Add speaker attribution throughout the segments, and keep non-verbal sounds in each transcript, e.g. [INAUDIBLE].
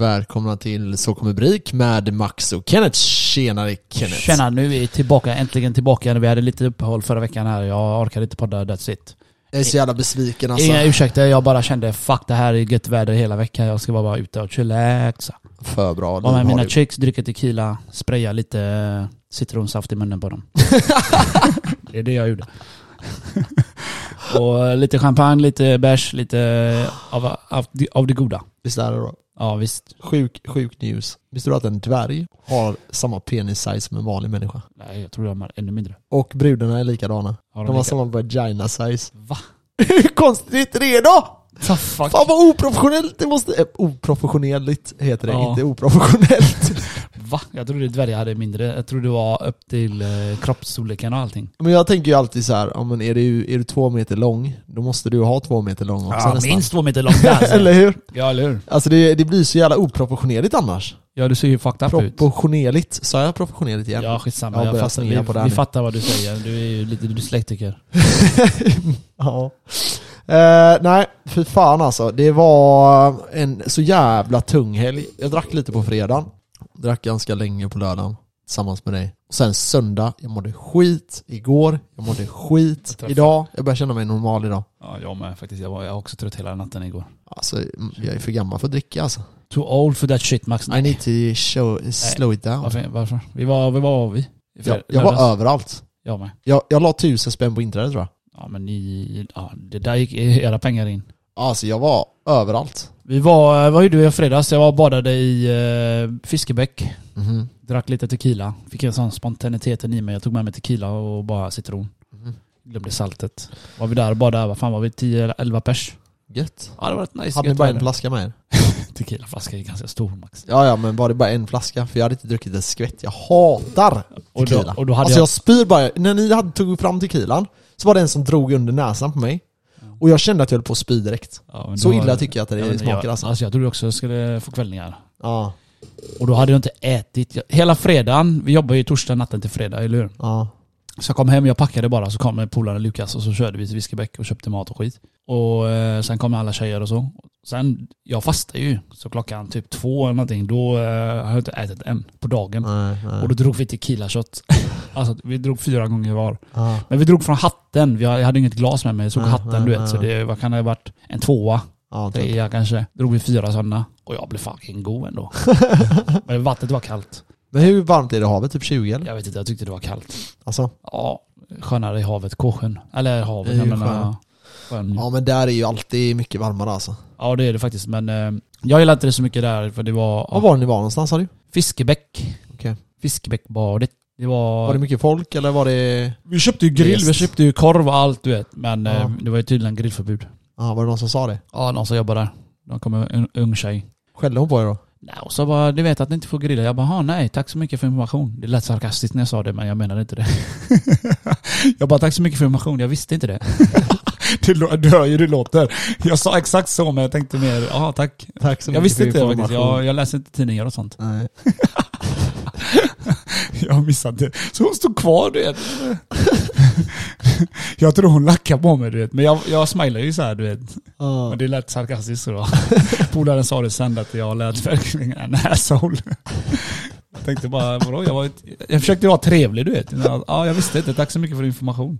Speaker 1: Välkomna till Så kommer Brik med Max och Kenneth. Tjenare Kenneth.
Speaker 2: Tjena, nu är vi tillbaka, äntligen tillbaka. Vi hade lite uppehåll förra veckan här, jag orkade inte podda, that's it.
Speaker 1: Jag är så jävla besviken alltså.
Speaker 2: Inga ursäkter, jag bara kände fuck det här är gött väder hela veckan, jag ska vara bara ute och chillaxa.
Speaker 1: För bra.
Speaker 2: Vara
Speaker 1: Nu
Speaker 2: med
Speaker 1: har
Speaker 2: mina
Speaker 1: du-
Speaker 2: chicks, dricka tequila, spraya lite eh, citronsaft i munnen
Speaker 1: [LAUGHS]
Speaker 2: på dem. det är det jag gjorde. [LAUGHS] och eh, lite champagne, lite bärs, lite av, av, av det goda.
Speaker 1: Visst är det då?
Speaker 2: Ja visst.
Speaker 1: Sjuk, sjuk news. Visste du att en dvärg har samma penis-size som en vanlig människa?
Speaker 2: Nej, jag tror de är ännu mindre.
Speaker 1: Och brudarna är likadana.
Speaker 2: Har
Speaker 1: De,
Speaker 2: de
Speaker 1: har
Speaker 2: lika-
Speaker 1: samma vagina-size.
Speaker 2: Va?
Speaker 1: [LAUGHS] Hur konstigt är inte det då?
Speaker 2: Ta fuck.
Speaker 1: Fan vad oprofessionellt det måste... Eh, oprofessionellt heter det,
Speaker 2: Ja.
Speaker 1: inte oprofessionellt. [LAUGHS]
Speaker 2: Va? Jag trodde dvärgar hade mindre. Jag trodde det var upp till eh, kroppsstorleken och allting.
Speaker 1: men jag tänker ju alltid så här, ja, men är, du, är du två meter lång, då måste du ha två meter lång också nästan.
Speaker 2: minst två meter lång
Speaker 1: [LAUGHS]
Speaker 2: där.
Speaker 1: Eller hur?
Speaker 2: Ja, eller hur?
Speaker 1: Alltså det, det blir så jävla oproportionerligt annars.
Speaker 2: Ja, du ser ju fucked up ut.
Speaker 1: Proportionerligt, sa jag proportionerligt igen?
Speaker 2: Ja, skitsamma.
Speaker 1: Jag
Speaker 2: Jag
Speaker 1: börjar
Speaker 2: fattar,
Speaker 1: snegla på det
Speaker 2: vi,
Speaker 1: här
Speaker 2: vi
Speaker 1: nu.
Speaker 2: fattar vad du säger. Du är ju lite dyslektiker.
Speaker 1: [LAUGHS] Ja. Eh, nej, fy fan alltså. Det var en så jävla tung helg. Jag drack lite på fredagen. Drack ganska länge på lördagen tillsammans med dig. Och sen söndag, jag mådde skit igår, jag mådde skit
Speaker 2: träffar-
Speaker 1: idag. Jag börjar känna mig normal idag.
Speaker 2: Ja, jag med faktiskt. Jag var, jag var också trött hela natten igår.
Speaker 1: Alltså, mm, jag är för gammal för att dricka alltså.
Speaker 2: Too old for that shit Max.
Speaker 1: I need to show, slow it down.
Speaker 2: Varför? varför? Vi var, vi var vi?
Speaker 1: Jag, jag var överallt.
Speaker 2: Jag med.
Speaker 1: Jag, jag la tusen spänn på internet tror jag.
Speaker 2: Ja, men ni... Ja, det där gick era pengar in.
Speaker 1: Alltså jag var överallt.
Speaker 2: Vi var... Vad gjorde vi i fredags? Jag var och badade i eh, Fiskebäck.
Speaker 1: Mhm.
Speaker 2: Drack lite tequila. Fick en sån spontaniteten i mig. Jag tog med mig tequila och bara citron.
Speaker 1: Mhm.
Speaker 2: Glömde saltet. Var vi där och badade, vad fan var vi? 10 eller 11 pers?
Speaker 1: Gött.
Speaker 2: Ja det var rätt nice.
Speaker 1: Hade ni bara en flaska med er?
Speaker 2: Tequilaflaska är ganska stor Max.
Speaker 1: Ja, ja, men var det bara en flaska? För jag hade inte druckit ett skvätt. Jag hatar
Speaker 2: Och
Speaker 1: tequila.
Speaker 2: då, och då hade
Speaker 1: alltså jag...
Speaker 2: jag...
Speaker 1: spyr bara. När ni hade tog fram tequilan så var det en som drog under näsan på mig. Och jag kände att jag höll på att spy direkt.
Speaker 2: Ja, men
Speaker 1: Så
Speaker 2: då-
Speaker 1: illa tycker jag att det
Speaker 2: men
Speaker 1: smakar
Speaker 2: jag,
Speaker 1: alltså.
Speaker 2: alltså. jag trodde också jag skulle få kvällningar.
Speaker 1: Ja,
Speaker 2: Och då hade jag inte ätit. Jag- Hela fredagen, vi jobbar ju torsdag natten till fredag, eller hur?
Speaker 1: ja.
Speaker 2: Så jag kom hem, jag packade bara, så kom polaren Lukas och så körde vi till Viskebäck och köpte mat och skit. Och eh, sen kom alla tjejer och så. Sen, jag fastar ju, så klockan typ två eller någonting, då eh, har jag inte ätit än på dagen.
Speaker 1: Nej, nej.
Speaker 2: Och då drog vi tequila shot. [LAUGHS] Alltså vi drog fyra gånger var.
Speaker 1: ja.
Speaker 2: Men vi drog från hatten, Vi- jag hade inget glas med mig, jag såg
Speaker 1: Nej,
Speaker 2: hatten
Speaker 1: nej,
Speaker 2: du vet.
Speaker 1: nej,
Speaker 2: Så det vad kan det ha varit en tvåa,
Speaker 1: Ja, typ.
Speaker 2: trea kanske. Drog vi fyra sådana. Och jag blev fucking
Speaker 1: [LAUGHS]
Speaker 2: god ändå. Men vattnet var kallt.
Speaker 1: Men hur varmt är det i havet? Typ 20 eller?
Speaker 2: Jag vet inte, jag tyckte det var kallt.
Speaker 1: Alltså.
Speaker 2: Ja, skönare i havet, Kåsjön. Eller havet,
Speaker 1: Det är
Speaker 2: jag
Speaker 1: ju
Speaker 2: menar.
Speaker 1: skönt.
Speaker 2: Sjön.
Speaker 1: Ja men där är ju alltid mycket varmare alltså.
Speaker 2: Ja det är det faktiskt men eh, jag gillar inte det så mycket där för det var,
Speaker 1: Var var det ni var någonstans sa du?
Speaker 2: Fiskebäck.
Speaker 1: Okej.
Speaker 2: Fiskebäckbadet. Det var...
Speaker 1: Var det mycket folk eller var det...
Speaker 2: vi köpte ju grill,
Speaker 1: Rest.
Speaker 2: vi köpte ju korv och allt du vet. Men
Speaker 1: Ja.
Speaker 2: eh, det var ju tydligen grillförbud.
Speaker 1: Ja, var det någon som sa det?
Speaker 2: Ja, någon som jobbar där. De kommer en ung tjej.
Speaker 1: Skällde hon på er då?
Speaker 2: Nej, och så bara, du vet att ni inte får grilla. Jag bara, "Ha, nej, tack så mycket för information. Det lät sarkastiskt när jag sa det, men jag menade inte det. [LAUGHS] jag bara, tack så mycket för information. Jag visste inte det. du, lå- du hör ju hur [LAUGHS] det låter. Jag sa exakt så, men jag tänkte mer, ja tack.
Speaker 1: Tack så
Speaker 2: Jag visste inte det faktiskt. Jag, jag läser inte tidningar och sånt.
Speaker 1: Nej.
Speaker 2: [LAUGHS] Jag har missat det. Så hon stod kvar du vet. [LAUGHS] Jag tror hon lackade på mig du vet. Men jag, jag smilade ju så här du vet.
Speaker 1: Ja.
Speaker 2: Men det lät sarkastiskt så då. [LAUGHS] Polaren sa det sen att jag lät verkligen en asshole. Jag tänkte bara vadå? Jag, var ett, jag försökte vara trevlig du vet. Men, Ja jag visste inte. Tack så mycket för information.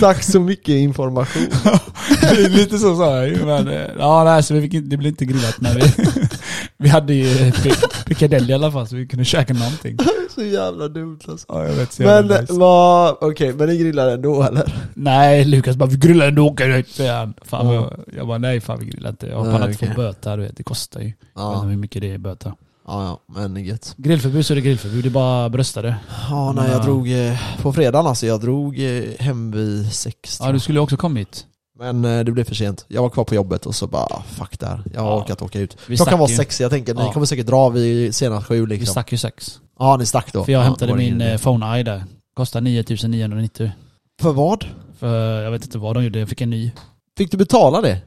Speaker 1: Tack så mycket information.
Speaker 2: [LAUGHS] Lite så sa jag ju. Men, eh, ja nej så vi fick, inte- det blev inte grillat men vi, [LAUGHS] vi hade ju eh, pi- piccadilly i alla fall så vi kunde käka någonting.
Speaker 1: så jävla dumt alltså.
Speaker 2: Ja, jag vet, så jävla
Speaker 1: Men
Speaker 2: nice.
Speaker 1: vad, okej, men ni grillar ändå eller?
Speaker 2: Nej, Lukas bara vi grillar ändå åker jag ut, säger han. Fan,
Speaker 1: Ja.
Speaker 2: jag, jag bara nej fan vi grillar inte. Jag har
Speaker 1: Nej,
Speaker 2: pallat
Speaker 1: okej.
Speaker 2: få böter, du vet. Det kostar ju. Jag vet
Speaker 1: Ja,
Speaker 2: inte hur mycket det är i böter.
Speaker 1: ja, ja men gött.
Speaker 2: Grillförbud så är det grillförbud, det är bara bröstade.
Speaker 1: Ja, nej jag
Speaker 2: Ja.
Speaker 1: drog, eh, på fredagen alltså, jag drog eh, hem vid sex. tror
Speaker 2: Ja du
Speaker 1: jag.
Speaker 2: skulle också kommit.
Speaker 1: Men eh, det blev för sent. Jag var kvar på jobbet och så bara, fuck där. Jag har
Speaker 2: Ja.
Speaker 1: orkat åka ut.
Speaker 2: Vi
Speaker 1: Klockan
Speaker 2: stack
Speaker 1: var
Speaker 2: ju.
Speaker 1: sex, jag tänker ni
Speaker 2: Ja.
Speaker 1: kommer säkert dra vid senast sju
Speaker 2: Vi
Speaker 1: liksom.
Speaker 2: stack ju sex.
Speaker 1: Ja, ni stack då.
Speaker 2: För jag
Speaker 1: ja,
Speaker 2: hämtade
Speaker 1: då var det ingen
Speaker 2: min
Speaker 1: idé.
Speaker 2: eh, Phone Eye där. Kostar 9990.
Speaker 1: För vad?
Speaker 2: För jag vet inte vad de gjorde, jag fick en ny.
Speaker 1: Fick du betala det?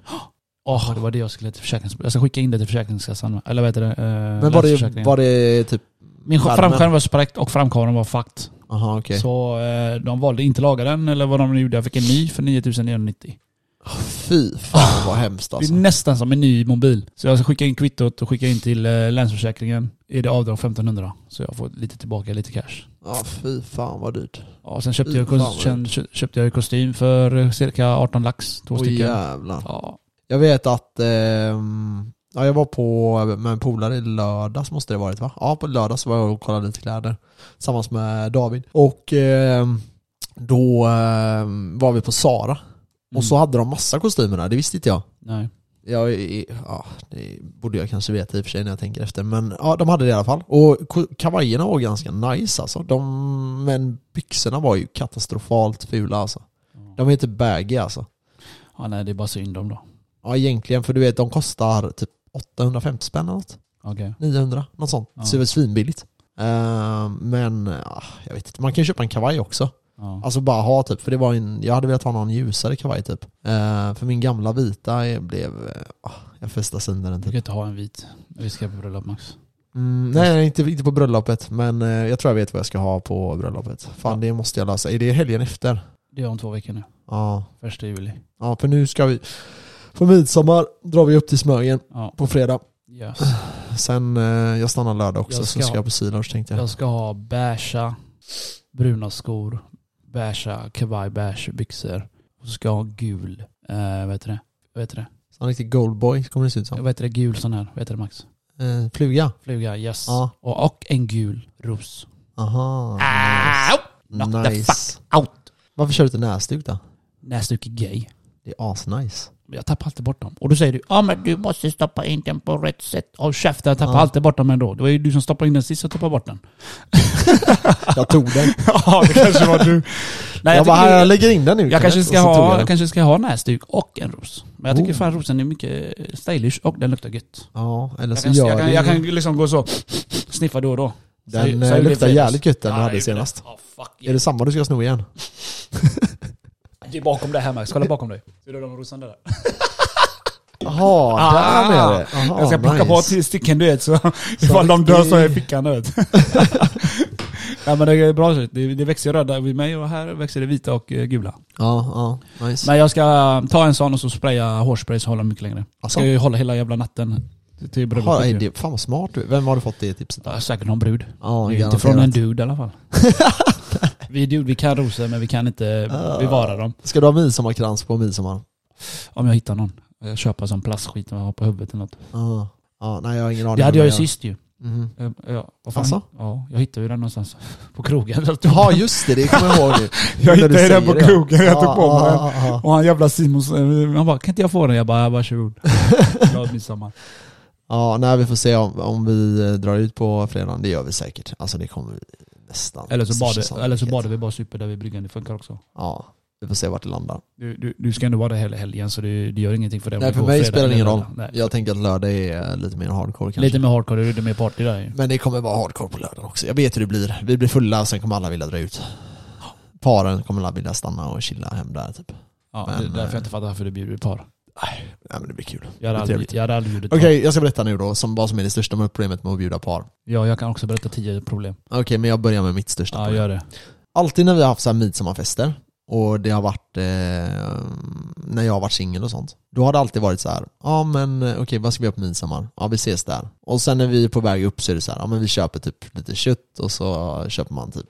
Speaker 2: Åh, det var det jag skulle till försäkrings... Jag ska skicka in det till Försäkringskassan. Eller vad heter det? Eh,
Speaker 1: Men var det,
Speaker 2: Länsförsäkringen.
Speaker 1: var det typ...
Speaker 2: Min
Speaker 1: skärmen?
Speaker 2: framskärm var spräckt och framkameran var fucked.
Speaker 1: Aha, okej.
Speaker 2: Så eh, de valde inte laga den eller vad de nu gjorde. Jag fick en ny för 9990.
Speaker 1: Fy fan vad hemskt alltså.
Speaker 2: Ah, Det är nästan som en ny mobil. Så jag ska skicka in kvittot och skicka in till eh, Länsförsäkringen. Är det avdrag 1500 så jag får lite tillbaka, lite cash.
Speaker 1: Ja, fy fan vad dyrt.
Speaker 2: Ja, sen köpte jag,
Speaker 1: Fy fan,
Speaker 2: kos- sen kö- köpte jag kostym för eh, cirka 18 lax, två
Speaker 1: Åh
Speaker 2: stycken.
Speaker 1: jävlar.
Speaker 2: Ja.
Speaker 1: Jag vet att, ehm, ja, jag var på med en polare i lördags måste det varit va? Ja, på lördags var jag och kollade lite kläder tillsammans med David. Och ehm, då ehm, var vi på Sara och så
Speaker 2: Mm.
Speaker 1: hade de massa kostymer där, det visste inte jag.
Speaker 2: Nej.
Speaker 1: Jag, är- ja, det borde jag kanske veta i och för sig när jag tänker efter. Men ja, de hade det i alla fall. Och ko- kavajerna var ganska nice alltså. De, men byxorna var ju katastrofalt fula alltså. De är inte baggy alltså.
Speaker 2: Ja, nej, det är bara synd om då.
Speaker 1: Ja egentligen, för du vet de kostar typ 850 spänn eller något.
Speaker 2: Okej.
Speaker 1: 900, något sånt.
Speaker 2: Ja.
Speaker 1: Så det är väl svinbilligt. Eh, men ja, jag vet inte, man kan ju köpa en kavaj också.
Speaker 2: Ja.
Speaker 1: Alltså bara ha typ, för det var en, jag hade velat ha någon ljusare kavaj typ. Eh, för min gamla vita eh, blev, eh, ah, jag festade sönder den
Speaker 2: Du
Speaker 1: typ.
Speaker 2: kan inte ha en vit. Vi ska på bröllop Max.
Speaker 1: Mm, nej, nej, inte, inte på bröllopet, men eh, jag tror jag vet vad jag ska ha på bröllopet. Fan, det måste jag lösa. Är det helgen efter?
Speaker 2: Det är om två veckor nu.
Speaker 1: Ja,
Speaker 2: Första juli.
Speaker 1: ja för nu ska vi... På midsommar drar vi upp till Smögen
Speaker 2: Ja.
Speaker 1: på fredag.
Speaker 2: Yes.
Speaker 1: Sen, eh, jag stannar lördag också,
Speaker 2: Jag
Speaker 1: så
Speaker 2: ska-
Speaker 1: ska jag på Silars tänkte jag.
Speaker 2: Jag ska ha beiga bruna skor, beiga kavaj, beige byxor. Och så ska jag ha gul, eh, vad heter det? Vad heter det?
Speaker 1: En riktig goldboy kommer det se ut som.
Speaker 2: Vad heter det? Gul sån här, vad heter det Max?
Speaker 1: Eh, fluga?
Speaker 2: Fluga, yes.
Speaker 1: Ja.
Speaker 2: Och, och en gul ros.
Speaker 1: Aha.
Speaker 2: Au!
Speaker 1: nice.
Speaker 2: Knock Ah, the
Speaker 1: nice.
Speaker 2: fuck out!
Speaker 1: Varför kör du inte näsduk då?
Speaker 2: Näsduk är gay.
Speaker 1: Det är
Speaker 2: [LAUGHS]
Speaker 1: asnice.
Speaker 2: Men Jag tappar alltid bort dem. Och då säger du ja men du måste stoppa in den på rätt sätt. Håll käften, jag tappar
Speaker 1: Ja.
Speaker 2: alltid bort dem ändå. Det var ju du som stoppade in den sist och tappade
Speaker 1: [LAUGHS]
Speaker 2: bort den.
Speaker 1: Jag tog den.
Speaker 2: ja, det kanske var du. [LAUGHS] Nej,
Speaker 1: jag,
Speaker 2: jag,
Speaker 1: bara,
Speaker 2: tycker-
Speaker 1: jag lägger in den nu.
Speaker 2: Jag kanske, ska
Speaker 1: Och så tog
Speaker 2: ha,
Speaker 1: jag den.
Speaker 2: jag kanske ska ha näsduk och en ros. Men jag tycker
Speaker 1: Oh.
Speaker 2: fan rosen är mycket stylish och den luktar gött.
Speaker 1: Alltså, Ja, eller
Speaker 2: Jag
Speaker 1: så
Speaker 2: kan,
Speaker 1: gör
Speaker 2: jag, kan,
Speaker 1: det.
Speaker 2: jag kan liksom gå så, sniffa då och då. Så-
Speaker 1: Den
Speaker 2: så
Speaker 1: eh,
Speaker 2: gjorde
Speaker 1: luktar
Speaker 2: Fredrik.
Speaker 1: jävligt gött den
Speaker 2: Ja,
Speaker 1: du
Speaker 2: jag
Speaker 1: hade
Speaker 2: gjorde
Speaker 1: senast.
Speaker 2: det. Ja, fuck
Speaker 1: Är det samma du ska sno igen?
Speaker 2: yeah. Det är bakom dig här Max, kolla bakom dig. Ser du de rosorna där?
Speaker 1: Jaha,
Speaker 2: Ah,
Speaker 1: där är det. Aha,
Speaker 2: jag ska plocka
Speaker 1: nice.
Speaker 2: på tio stycken du
Speaker 1: [LAUGHS]
Speaker 2: vet, så ifall de dör så är jag i fickan du vet. [LAUGHS] Nej men det är bra, shit. det, det växer röda vid mig och här växer det vita och eh, gula.
Speaker 1: Ja, ja, nice.
Speaker 2: Men jag ska eh, ta en sån och så spraya hårspray så håller de mycket längre. Jag
Speaker 1: Alltså,
Speaker 2: ska ju hålla hela jävla natten till- till
Speaker 1: aha,
Speaker 2: bröllopet.
Speaker 1: nej,
Speaker 2: ju.
Speaker 1: det, fan vad smart du är. Vem har du fått det tipset av?
Speaker 2: Ja, säkert någon brud.
Speaker 1: Ja,
Speaker 2: Det är inte
Speaker 1: garanterat.
Speaker 2: från en dude i alla
Speaker 1: [LAUGHS]
Speaker 2: fall. vi är dude, vi kan rosor men vi kan inte
Speaker 1: Ah.
Speaker 2: bevara dem.
Speaker 1: Ska du ha midsommarkrans på midsommar?
Speaker 2: Om jag hittar någon. Jag köper sån plastskit och har på huvudet eller något.
Speaker 1: Ja, ja, nej jag har ingen aning.
Speaker 2: Det hade jag
Speaker 1: vad
Speaker 2: ju
Speaker 1: gör.
Speaker 2: sist ju.
Speaker 1: Mhm.
Speaker 2: Eh, Ja, vad
Speaker 1: Asså?
Speaker 2: Ja, jag hittade ju den någonstans. [LAUGHS] På krogen. Jag tog-
Speaker 1: Ja just det, det kommer jag ihåg nu.
Speaker 2: [LAUGHS] Jag
Speaker 1: När du
Speaker 2: hittade den
Speaker 1: säger
Speaker 2: på
Speaker 1: det.
Speaker 2: krogen, jag tog på mig den.
Speaker 1: Ja, ja, ja,
Speaker 2: [LAUGHS]
Speaker 1: ja.
Speaker 2: Och han jävla Simons, eh, han bara kan inte jag få den? Jag bara, "Ja, varsågod. Glad midsommar.
Speaker 1: Ja, nej vi får se om, om vi eh, drar ut på fredagen. Det gör vi säkert. Alltså det kommer vi nästan.
Speaker 2: Eller så
Speaker 1: största
Speaker 2: badar eller så
Speaker 1: sannolikhet.
Speaker 2: badar vi bara super där vid bryggan, det funkar också.
Speaker 1: Ja, vi får se vart det landar.
Speaker 2: Du, du, du ska ändå vara där hela helgen så det, det gör ingenting för det. om
Speaker 1: Nej
Speaker 2: det
Speaker 1: för
Speaker 2: går
Speaker 1: mig
Speaker 2: fredag
Speaker 1: spelar det ingen
Speaker 2: eller
Speaker 1: roll.
Speaker 2: lördag. Nej.
Speaker 1: Jag tänker att lördag är eh, lite mer hardcore kanske.
Speaker 2: Lite mer hardcore, lite mer party där ju.
Speaker 1: Men det kommer vara hardcore på lördagen också. Jag vet hur det blir. Vi blir fulla och sen kommer alla vilja dra ut. Paren kommer alla vilja stanna och chilla hem där typ.
Speaker 2: Ja,
Speaker 1: Men,
Speaker 2: det är därför
Speaker 1: eh,
Speaker 2: jag inte fattar varför du bjuder par.
Speaker 1: Nej men det blir kul.
Speaker 2: Jag hade aldrig,
Speaker 1: trevligt.
Speaker 2: jag hade aldrig bjudit
Speaker 1: Okej,
Speaker 2: par.
Speaker 1: jag ska berätta nu då som vad som är det största problemet med att bjuda par.
Speaker 2: Ja, jag kan också berätta tio problem.
Speaker 1: Okej, men jag börjar med mitt största
Speaker 2: Ja,
Speaker 1: problem.
Speaker 2: gör det.
Speaker 1: Alltid när vi har haft så här midsommarfester och det har varit eh, när jag har varit singel och sånt. Då har det alltid varit så här, ja men eh, okej vad ska vi göra på midsommar? Ja vi ses där. Och sen när vi är på väg upp så är det så här, ja men vi köper typ lite kött och så köper man typ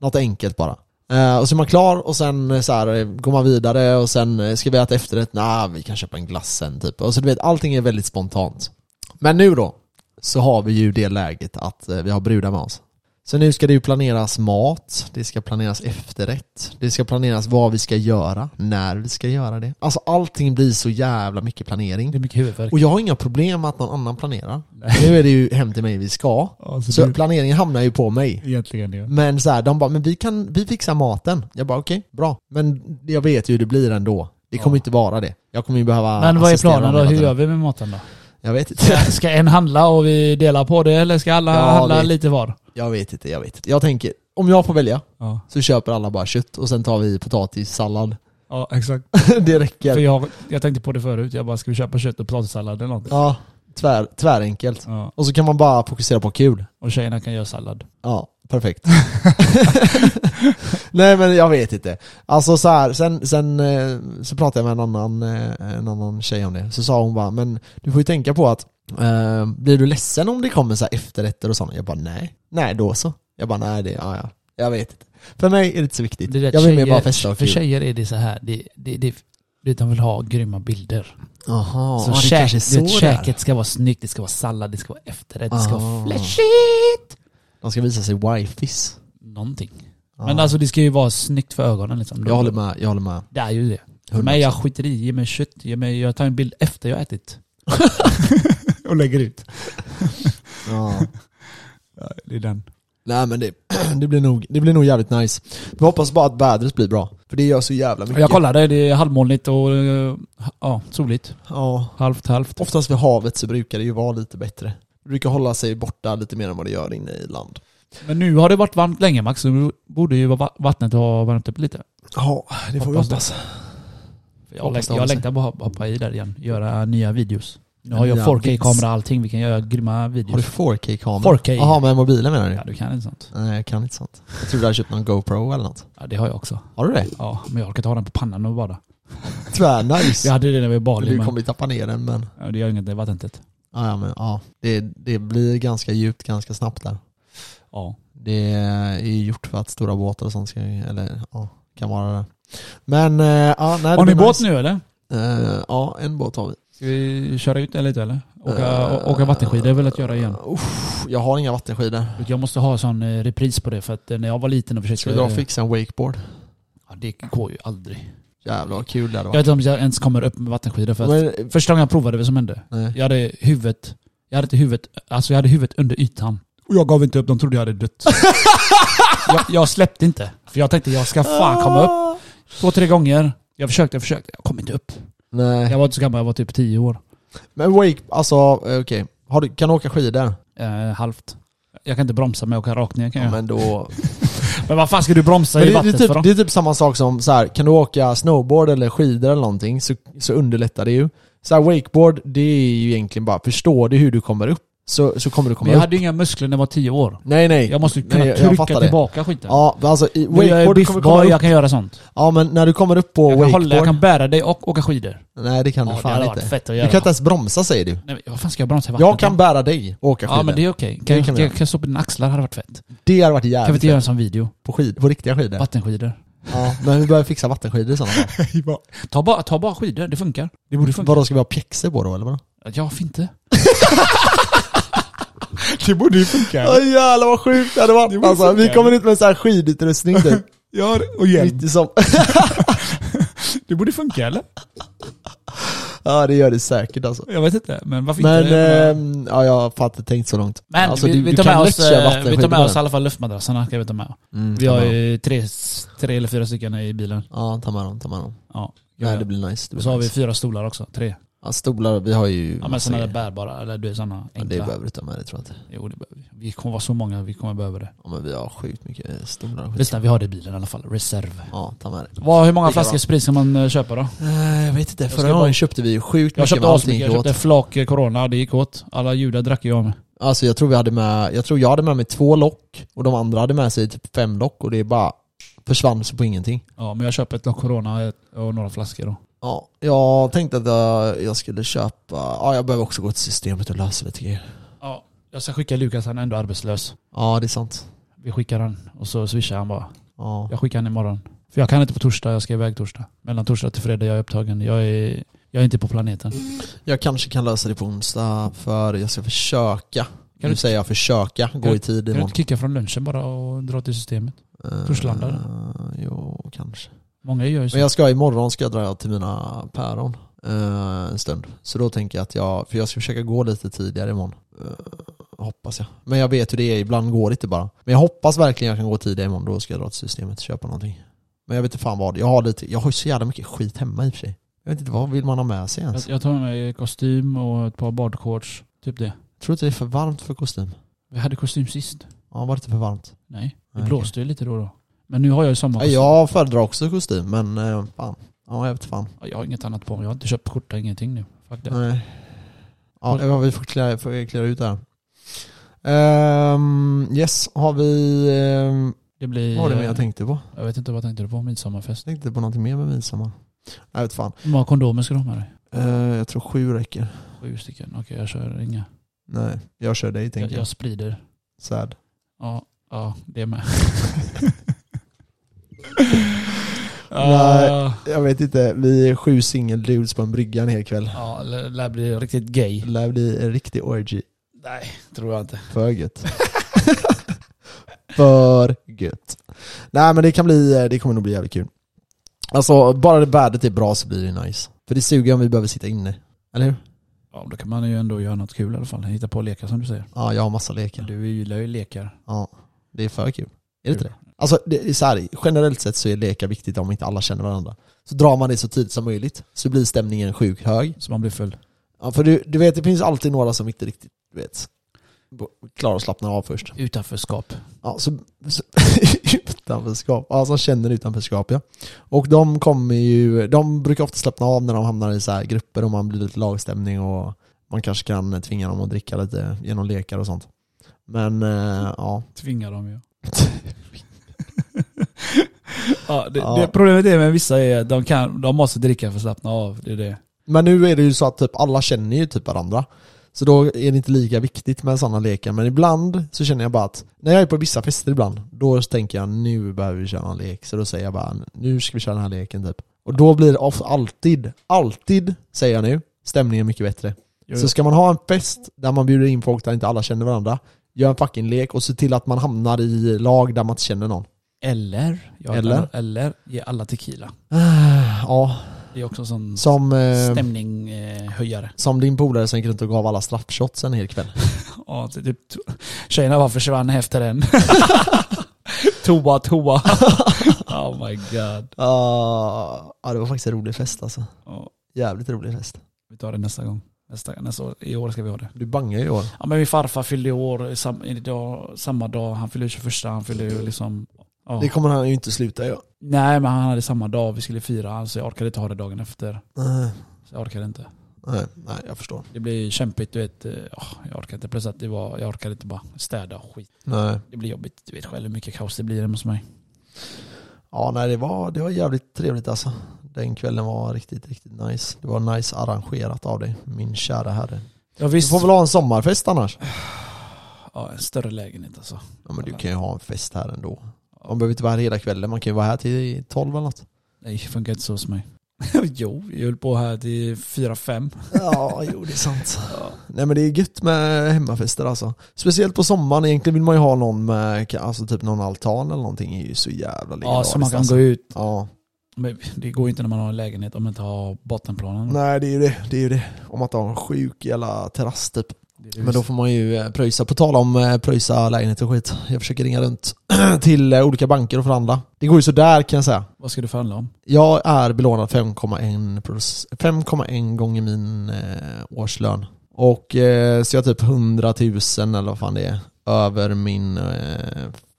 Speaker 1: något enkelt bara. Eh, och så är man klar och sen eh, så här, eh, går man vidare och sen eh, ska vi äta efterrätt, nej vi kan köpa en glass sen typ. Och så du vet, allting är väldigt spontant. Men nu då, så har vi ju det läget att eh, vi har brudar med oss. Så nu ska det ju planeras mat, det ska planeras efterrätt, det ska planeras vad vi ska göra, när vi ska göra det. Alltså allting blir så jävla mycket planering.
Speaker 2: Det är mycket huvudvärk.
Speaker 1: Och jag har inga problem med att någon annan planerar.
Speaker 2: Nej.
Speaker 1: Nu är det ju hem till mig vi ska.
Speaker 2: Alltså,
Speaker 1: Så
Speaker 2: du,
Speaker 1: planeringen hamnar ju på mig.
Speaker 2: egentligen ja.
Speaker 1: Men så här, de bara, men vi, kan, vi fixar maten. Jag bara okej, bra. Men jag vet ju hur det blir ändå. Det kommer
Speaker 2: Ja.
Speaker 1: inte vara det. Jag kommer ju behöva
Speaker 2: Men vad är
Speaker 1: assistera
Speaker 2: planen
Speaker 1: dem
Speaker 2: då?
Speaker 1: hela
Speaker 2: Hur
Speaker 1: tiden.
Speaker 2: gör vi med maten då?
Speaker 1: Jag vet inte. [LAUGHS]
Speaker 2: Ska en handla och vi delar på det eller ska alla
Speaker 1: Ja,
Speaker 2: handla
Speaker 1: vi-
Speaker 2: lite var?
Speaker 1: Jag vet inte, jag vet inte. Jag tänker, om jag får välja
Speaker 2: Ja,
Speaker 1: så köper alla bara kött och sen tar vi potatissallad. [LAUGHS]
Speaker 2: ja exakt.
Speaker 1: det
Speaker 2: För
Speaker 1: räcker.
Speaker 2: jag, jag tänkte på det förut, jag bara ska vi köpa kött och potatissallad eller något?
Speaker 1: Ja, tvär, tvärenkelt.
Speaker 2: Ja.
Speaker 1: Och så kan man bara fokusera på kul.
Speaker 2: Och tjejerna kan göra sallad.
Speaker 1: Ja, Perfekt. [LAUGHS] Nej men jag vet inte. Alltså så här, sen, sen eh, så pratade jag med en annan, eh, en annan tjej om det. Så sa hon bara, men du får ju tänka på att eh, blir du ledsen om det kommer så här efterrätter och sånt? Jag bara nej. Nej då så. Jag bara nej det, ja ja. Jag vet inte. För mig är det inte så viktigt.
Speaker 2: Det är
Speaker 1: jag vill mer bara festa och
Speaker 2: För
Speaker 1: kul.
Speaker 2: tjejer är det så här, det, det, det, det, de vill ha grymma bilder.
Speaker 1: Jaha,
Speaker 2: så
Speaker 1: ja, det
Speaker 2: käk,
Speaker 1: kanske är
Speaker 2: du vet,
Speaker 1: så det är.
Speaker 2: käket ska vara snyggt, det ska vara sallad, det ska vara efterrätt, det ska
Speaker 1: Ah.
Speaker 2: vara flashigt.
Speaker 1: De ska visa sig wifis.
Speaker 2: Någonting.
Speaker 1: Ja.
Speaker 2: Men alltså det ska ju vara snyggt för ögonen liksom.
Speaker 1: Ah. jag håller med, jag håller med.
Speaker 2: Det är ju det. För mig, jag skiter i, ge mig kött, ge mig, jag tar en bild efter jag har ätit. [LAUGHS] och lägger ut.
Speaker 1: Ja.
Speaker 2: Det är den.
Speaker 1: Nej men det, [CLEARS THROAT] det, blir nog, det blir nog jävligt nice. Vi hoppas bara att vädret blir bra. För det gör så jävla mycket.
Speaker 2: Jag kollade, det är halvmolnigt och eh, ja, soligt.
Speaker 1: Ja.
Speaker 2: Halvt, halvt.
Speaker 1: Oftast vid havet så brukar det ju vara lite bättre. Det brukar hålla sig borta lite mer än vad det gör inne i land.
Speaker 2: Men nu har det varit varmt länge Max, så nu borde ju va- vattnet ha värmt upp lite.
Speaker 1: Ja, det
Speaker 2: får vi hoppas. Jag,
Speaker 1: Hoppas
Speaker 2: längtar,
Speaker 1: det
Speaker 2: jag
Speaker 1: håller sig.
Speaker 2: längtar bara att hoppa i där igen, göra nya videos. Nu har jag
Speaker 1: Nya
Speaker 2: 4K-kamera
Speaker 1: videos.
Speaker 2: och allting, vi kan göra grymma
Speaker 1: Har du
Speaker 2: videos.
Speaker 1: 4K-kamera?
Speaker 2: 4K.
Speaker 1: Jaha, med mobilen menar du?
Speaker 2: Ja, du kan inte sånt.
Speaker 1: Nej, jag kan inte sånt. Jag trodde du hade köpt någon GoPro eller något.
Speaker 2: Ja, det har jag också.
Speaker 1: Har du det?
Speaker 2: Ja, men jag orkar inte ha den på pannan och bara.
Speaker 1: Tvärnice.
Speaker 2: Jag hade det när vi var i Bali,
Speaker 1: du
Speaker 2: men
Speaker 1: kommer ju tappa ner den men...
Speaker 2: ja, det gör inget, det är vattentätt.
Speaker 1: Ja, ja, men ja. Det, det blir ganska djupt ganska snabbt där.
Speaker 2: Ja.
Speaker 1: Det är ju gjort för att stora båtar och sånt ska, eller ja, kan vara det. Men, eh, ja, nej,
Speaker 2: Har ni båt nu eller?
Speaker 1: Eh, ja, en båt har vi.
Speaker 2: Ska vi köra ut den lite eller? Åka,
Speaker 1: Eh,
Speaker 2: åka vattenskidor är väl att göra igen?
Speaker 1: Uff, jag har inga vattenskidor.
Speaker 2: Jag måste ha sån eh, repris på det för att eh, när jag var liten och försökte...
Speaker 1: Ska vi dra och fixa en wakeboard?
Speaker 2: ja, det går ju aldrig.
Speaker 1: Jävlar vad kul det hade
Speaker 2: Jag vet
Speaker 1: varit.
Speaker 2: inte om jag ens kommer upp med vattenskidor för att
Speaker 1: Men, eh,
Speaker 2: första gången jag provade vad som hände.
Speaker 1: nej.
Speaker 2: Jag hade huvudet, jag hade inte huvudet, alltså jag hade huvudet under ytan. Och jag gav inte upp, de trodde jag hade dött. [LAUGHS] jag, jag släppte inte. För jag tänkte jag ska fan komma upp. Två, tre gånger. Jag försökte, jag försökte. Jag kom inte upp.
Speaker 1: Nej.
Speaker 2: Jag var inte så gammal, jag var typ tio år.
Speaker 1: Men wake, alltså eh, okej. Har du, kan du åka skidor?
Speaker 2: Eh, halvt. Jag kan inte bromsa men jag kan rakt ner kan jag.
Speaker 1: men då...
Speaker 2: Men vad fan ska du bromsa
Speaker 1: Men
Speaker 2: i
Speaker 1: det, det,
Speaker 2: vattnet
Speaker 1: är
Speaker 2: för
Speaker 1: typ,
Speaker 2: då?
Speaker 1: det är typ samma sak som så här, kan du åka snowboard eller skidor eller någonting så, så underlättar det ju. Så här, wakeboard, det är ju egentligen bara, förstår du hur du kommer upp så, så kommer du
Speaker 2: Men
Speaker 1: komma
Speaker 2: jag
Speaker 1: upp.
Speaker 2: hade ju inga muskler när jag var tio år.
Speaker 1: Nej nej.
Speaker 2: Jag måste ju kunna
Speaker 1: Nej, jag- jag
Speaker 2: trycka
Speaker 1: fattar det.
Speaker 2: tillbaka skiten.
Speaker 1: Ja, men alltså i
Speaker 2: Men jag är
Speaker 1: wakeboard du kommer komma
Speaker 2: biffboy,
Speaker 1: upp.
Speaker 2: jag kan göra sånt.
Speaker 1: Ja men när du kommer upp på
Speaker 2: Jag kan,
Speaker 1: wakeboard.
Speaker 2: hålla, jag kan bära dig och åka skidor.
Speaker 1: Nej det kan
Speaker 2: Ja,
Speaker 1: du
Speaker 2: det hade
Speaker 1: fan
Speaker 2: varit
Speaker 1: inte.
Speaker 2: fett att
Speaker 1: Du
Speaker 2: göra.
Speaker 1: kan inte ens bromsa säger du.
Speaker 2: Nej, men vad fan ska jag bromsa i vattnet?
Speaker 1: Jag kan bära dig och åka skidor.
Speaker 2: Ja men det är okej. Kan,
Speaker 1: Det
Speaker 2: jag-
Speaker 1: kan
Speaker 2: kan,
Speaker 1: vi
Speaker 2: jag- kan jag stå på dina axlar hade varit fett.
Speaker 1: det hade varit
Speaker 2: Kan vi
Speaker 1: jävligt
Speaker 2: inte
Speaker 1: fett.
Speaker 2: göra en sån video?
Speaker 1: På, skid, på riktiga skidor.
Speaker 2: Vattenskidor.
Speaker 1: Ja, men vi behöver fixa vattenskidor i sådana fall.
Speaker 2: Ta bara, ta bara skidor, det funkar. [LAUGHS] Det borde funka.
Speaker 1: Vadå, ska vi ha pjäxor på då eller vadå?
Speaker 2: Ja,
Speaker 1: [LAUGHS]
Speaker 2: varför inte? det borde ju funka.
Speaker 1: Ja jävlar vad sjukt det hade varit
Speaker 2: Det vore
Speaker 1: alltså. Vi
Speaker 2: funkar.
Speaker 1: kommer ut med en sån här skidutrustning typ.
Speaker 2: Ja, och
Speaker 1: Mitt i som... [LAUGHS]
Speaker 2: Det borde funka eller?
Speaker 1: Ja det gör det säkert alltså.
Speaker 2: Jag vet inte, men varför
Speaker 1: Men,
Speaker 2: inte? Jag menar-
Speaker 1: ehm, ja jag har inte tänkt så långt.
Speaker 2: men
Speaker 1: alltså,
Speaker 2: vi,
Speaker 1: du,
Speaker 2: vi,
Speaker 1: du
Speaker 2: tar
Speaker 1: kan
Speaker 2: med
Speaker 1: lätt
Speaker 2: oss,
Speaker 1: köra
Speaker 2: eh, vi
Speaker 1: vattenskidor
Speaker 2: tar med
Speaker 1: på
Speaker 2: oss i
Speaker 1: den.
Speaker 2: alla fall luftmadrasserna kan vi ta med.
Speaker 1: Mm,
Speaker 2: Vi
Speaker 1: ta
Speaker 2: har
Speaker 1: med dem.
Speaker 2: ju tre, tre eller fyra stycken i bilen.
Speaker 1: Ja, ta med dem, ta med dem.
Speaker 2: Ja.
Speaker 1: Nej det blir nice. Det
Speaker 2: Och
Speaker 1: blir
Speaker 2: så har vi
Speaker 1: nice.
Speaker 2: fyra stolar också, tre.
Speaker 1: Ja, stolar, vi har ju...
Speaker 2: Ja men
Speaker 1: massa
Speaker 2: sådana där
Speaker 1: grejer.
Speaker 2: bärbara, eller du är sådana
Speaker 1: Ja, det
Speaker 2: enkla.
Speaker 1: behöver du ta med dig tror jag inte.
Speaker 2: jo det behöver vi. Vi kommer vara så många, vi kommer behöva det.
Speaker 1: Ja men vi har sjukt mycket eh, stolar och skit.
Speaker 2: Lyssna, vi har det i bilen i alla fall. Reserv.
Speaker 1: Ja, ta med dig.
Speaker 2: Vad, hur många
Speaker 1: Lika
Speaker 2: flaskor
Speaker 1: bra.
Speaker 2: sprit ska man eh, köpa då?
Speaker 1: Eh, Jag vet inte,
Speaker 2: ska
Speaker 1: förra
Speaker 2: bara-
Speaker 1: gången köpte vi ju sjukt
Speaker 2: Jag
Speaker 1: mycket
Speaker 2: köpte
Speaker 1: men allting
Speaker 2: asmycket, jag
Speaker 1: gick
Speaker 2: köpte
Speaker 1: åt.
Speaker 2: flak eh, corona, det gick åt. Alla judar drack ju jag med.
Speaker 1: Alltså jag tror vi hade med, jag tror jag hade med mig två lock och de andra hade med sig typ fem lock och det bara försvann så på ingenting.
Speaker 2: Ja, men jag köper ett lock corona eh, och några flaskor då.
Speaker 1: Ja, jag tänkte att jag, jag skulle köpa, ja jag behöver också gå till systemet och lösa lite grejer.
Speaker 2: Ja, jag ska skicka Lukas, han är ändå arbetslös.
Speaker 1: Ja det är sant.
Speaker 2: Vi skickar han och så swishar han bara.
Speaker 1: Ja.
Speaker 2: Jag skickar han imorgon. För jag kan inte på torsdag, jag ska iväg torsdag. Mellan torsdag till fredag, jag är upptagen. Jag är, jag är inte på planeten.
Speaker 1: Mm. Jag kanske kan lösa det på onsdag för jag ska försöka.
Speaker 2: Kan
Speaker 1: nu
Speaker 2: du-
Speaker 1: säger jag försöka, gå
Speaker 2: du-
Speaker 1: i tid
Speaker 2: Kan du
Speaker 1: imorgon.
Speaker 2: inte kicka från lunchen bara och dra till systemet?
Speaker 1: Eh,
Speaker 2: Torslanda, eller?
Speaker 1: Jo, kanske.
Speaker 2: Många gör ju
Speaker 1: Men
Speaker 2: så.
Speaker 1: jag ska imorgon ska jag dra till mina päron eh, en stund. Så då tänker jag att jag, för jag ska försöka gå lite tidigare imorgon. Eh, hoppas jag. Men jag vet hur det är, ibland går det inte bara. Men jag hoppas verkligen jag kan gå tidigare imorgon, då ska jag dra till systemet och köpa någonting. Men jag vet inte fan vad, jag har lite, jag har ju så jävla mycket skit hemma i och för sig. Jag vet inte, vad vill man ha med sig
Speaker 2: Jag,
Speaker 1: ens?
Speaker 2: jag tar med mig kostym och ett par badshorts. Typ det.
Speaker 1: Tror du inte det är för varmt för kostym?
Speaker 2: Vi hade kostym sist.
Speaker 1: Ja, var det inte för varmt?
Speaker 2: Nej, det
Speaker 1: Nej,
Speaker 2: blåste ju lite då och då. Men nu har jag ju
Speaker 1: Ah, Ja,
Speaker 2: sommarkostym.
Speaker 1: jag föredrar också kostym, men eh, fan. Ja, jag vet fan.
Speaker 2: Ja, Ah, Jag har inget annat på mig. Jag har inte köpt skjorta, ingenting nu. Fuck det.
Speaker 1: Nej. Ja, vi får klä, får klä ut det här. Ehm, yes, har vi... ehm,
Speaker 2: Det blir...
Speaker 1: vad var det mer jag tänkte på?
Speaker 2: jag vet inte vad tänkte du på? Midsommarfest?
Speaker 1: Jag tänkte på någonting mer med midsommar. Jag vet fan.
Speaker 2: Hur många kondomer ska du ha med dig?
Speaker 1: Eh, jag tror sju räcker.
Speaker 2: Sju stycken. Okej, jag kör inga.
Speaker 1: Nej, jag kör dig
Speaker 2: Jag,
Speaker 1: tänker jag.
Speaker 2: jag sprider.
Speaker 1: Sad.
Speaker 2: Ja, ja
Speaker 1: [LAUGHS]
Speaker 2: det med. Ah.
Speaker 1: Nej. Jag vet inte, vi är sju singeldudes på en brygga en hel kväll.
Speaker 2: Ja, det lär bli riktigt gay.
Speaker 1: Det lär bli en riktig orgy.
Speaker 2: Nej, tror jag inte.
Speaker 1: För gött. [LAUGHS] För gött. Nej men det kan bli, eh, det kommer nog bli jävligt kul. Alltså bara det värdet är bra så blir det nice. För det suger om vi behöver sitta inne. Eller hur?
Speaker 2: Ja, då kan man ju ändå göra något kul i alla fall. Hitta på lekar som du säger.
Speaker 1: Ja, jag har massa lekar.
Speaker 2: Du gillar ju lekar.
Speaker 1: Ja, det är för kul. Är det inte det? Alltså det är så här, generellt sett så är lekar viktigt om inte alla känner varandra. Så drar man det så tidigt som möjligt så blir stämningen sjukt hög.
Speaker 2: Så man blir full.
Speaker 1: Ja, för du, du vet, det finns alltid några som inte riktigt, du vet, klarar att slappna av först.
Speaker 2: Utanförskap.
Speaker 1: Ja, så, så, [LAUGHS] utanförskap. Ja, som känner utanförskap ja. Och de kommer ju, de brukar ofta slappna av när de hamnar i så här grupper och man blir lite lagstämning och man kanske kan tvinga dem att dricka lite genom lekar och sånt. Men eh, ja,
Speaker 2: Tvingar dem ju. [LAUGHS] ja, det,
Speaker 1: Ja.
Speaker 2: Det problemet är med vissa är att de, kan, de måste dricka för att slappna av. Det är det.
Speaker 1: Men nu är det ju så att typ alla känner ju typ varandra. Så då är det inte lika viktigt med sådana lekar. Men ibland så känner jag bara att när jag är på vissa fester ibland, då tänker jag nu behöver vi köra en lek. Så då säger jag bara nu ska vi köra den här leken typ. Och då blir det of- alltid, alltid säger jag nu, stämningen mycket bättre.
Speaker 2: Jo,
Speaker 1: Så ska man ha en fest där man bjuder in folk där inte alla känner varandra, gör en fucking lek och se till att man hamnar i lag där man inte känner någon. [SIGHS]
Speaker 2: Eller, ja,
Speaker 1: Eller?
Speaker 2: eller? eller ge alla tequila.
Speaker 1: Ja,
Speaker 2: Det är också en sån
Speaker 1: som,
Speaker 2: Ehm.
Speaker 1: eh,
Speaker 2: stämninghöjare.
Speaker 1: som din polare som gick runt och gav alla straffshots en hel kväll.
Speaker 2: Ja, det- det- to- tjejerna bara försvann efter den. [LAUGHS] toa, [LAUGHS] toa. oh my god.
Speaker 1: Ja, ja, det var faktiskt en rolig fest alltså.
Speaker 2: Ja,
Speaker 1: Jävligt rolig fest.
Speaker 2: vi tar det nästa gång. Nästa, nästa år. I år ska vi ha det.
Speaker 1: Du bangar ju i år.
Speaker 2: Ja, men min farfar fyllde i år sam, i dag, samma dag. Han fyllde 21, han fyllde ju liksom... Ja.
Speaker 1: Det kommer han ju inte sluta göra.
Speaker 2: Nej, men han hade samma dag. Vi skulle fira han, så jag orkade inte ha det dagen efter.
Speaker 1: Nej,
Speaker 2: Så jag orkade inte.
Speaker 1: nej, nej, jag förstår.
Speaker 2: Det blir kämpigt, du vet. eh, ja, jag orkar inte. Plus att det var, jag orkade inte bara städa och skit.
Speaker 1: Nej.
Speaker 2: Det blir jobbigt. Du vet själv hur mycket kaos det blir hemma hos mig.
Speaker 1: Ja, nej, det var, det var jävligt trevligt alltså. Den kvällen var riktigt, riktigt nice. Det var nice arrangerat av dig, min kära herre.
Speaker 2: Ja,
Speaker 1: Du
Speaker 2: visst.
Speaker 1: får väl ha en sommarfest annars?
Speaker 2: Ja, en större lägenhet alltså.
Speaker 1: Ja, men du kan ju ha en fest här ändå. Man behöver inte vara här hela kvällen, man kan ju vara här till tolv eller något.
Speaker 2: Nej, det funkar inte så hos mig. [LAUGHS] jo, jag höll på här till fyra fem.
Speaker 1: Ja, jo det är sant. Nej men det är gött med hemmafester alltså. Speciellt på sommaren, egentligen vill man ju ha någon med, alltså typ någon altan eller någonting är ju så jävla
Speaker 2: Ja,
Speaker 1: legendariskt
Speaker 2: så man kan
Speaker 1: alltså.
Speaker 2: gå ut.
Speaker 1: Ja,
Speaker 2: Men det går ju inte när man har en lägenhet om man inte har bottenplanen.
Speaker 1: nej det är ju det, det är ju det. Om att ha en sjuk jävla terrass typ.
Speaker 2: Det är det
Speaker 1: Men då
Speaker 2: vi-
Speaker 1: får man ju eh, pröjsa. På tal om eh, pröjsa lägenhet och skit. Jag försöker ringa runt [CLEARS THROAT] till eh, olika banker och förhandla. Det går ju sådär kan jag säga.
Speaker 2: Vad ska du förhandla om?
Speaker 1: Jag är belånad 5,1 proc- 5,1 gånger min eh, årslön. Och eh, så jag är typ 100 000 eller vad fan det är över min... Eh,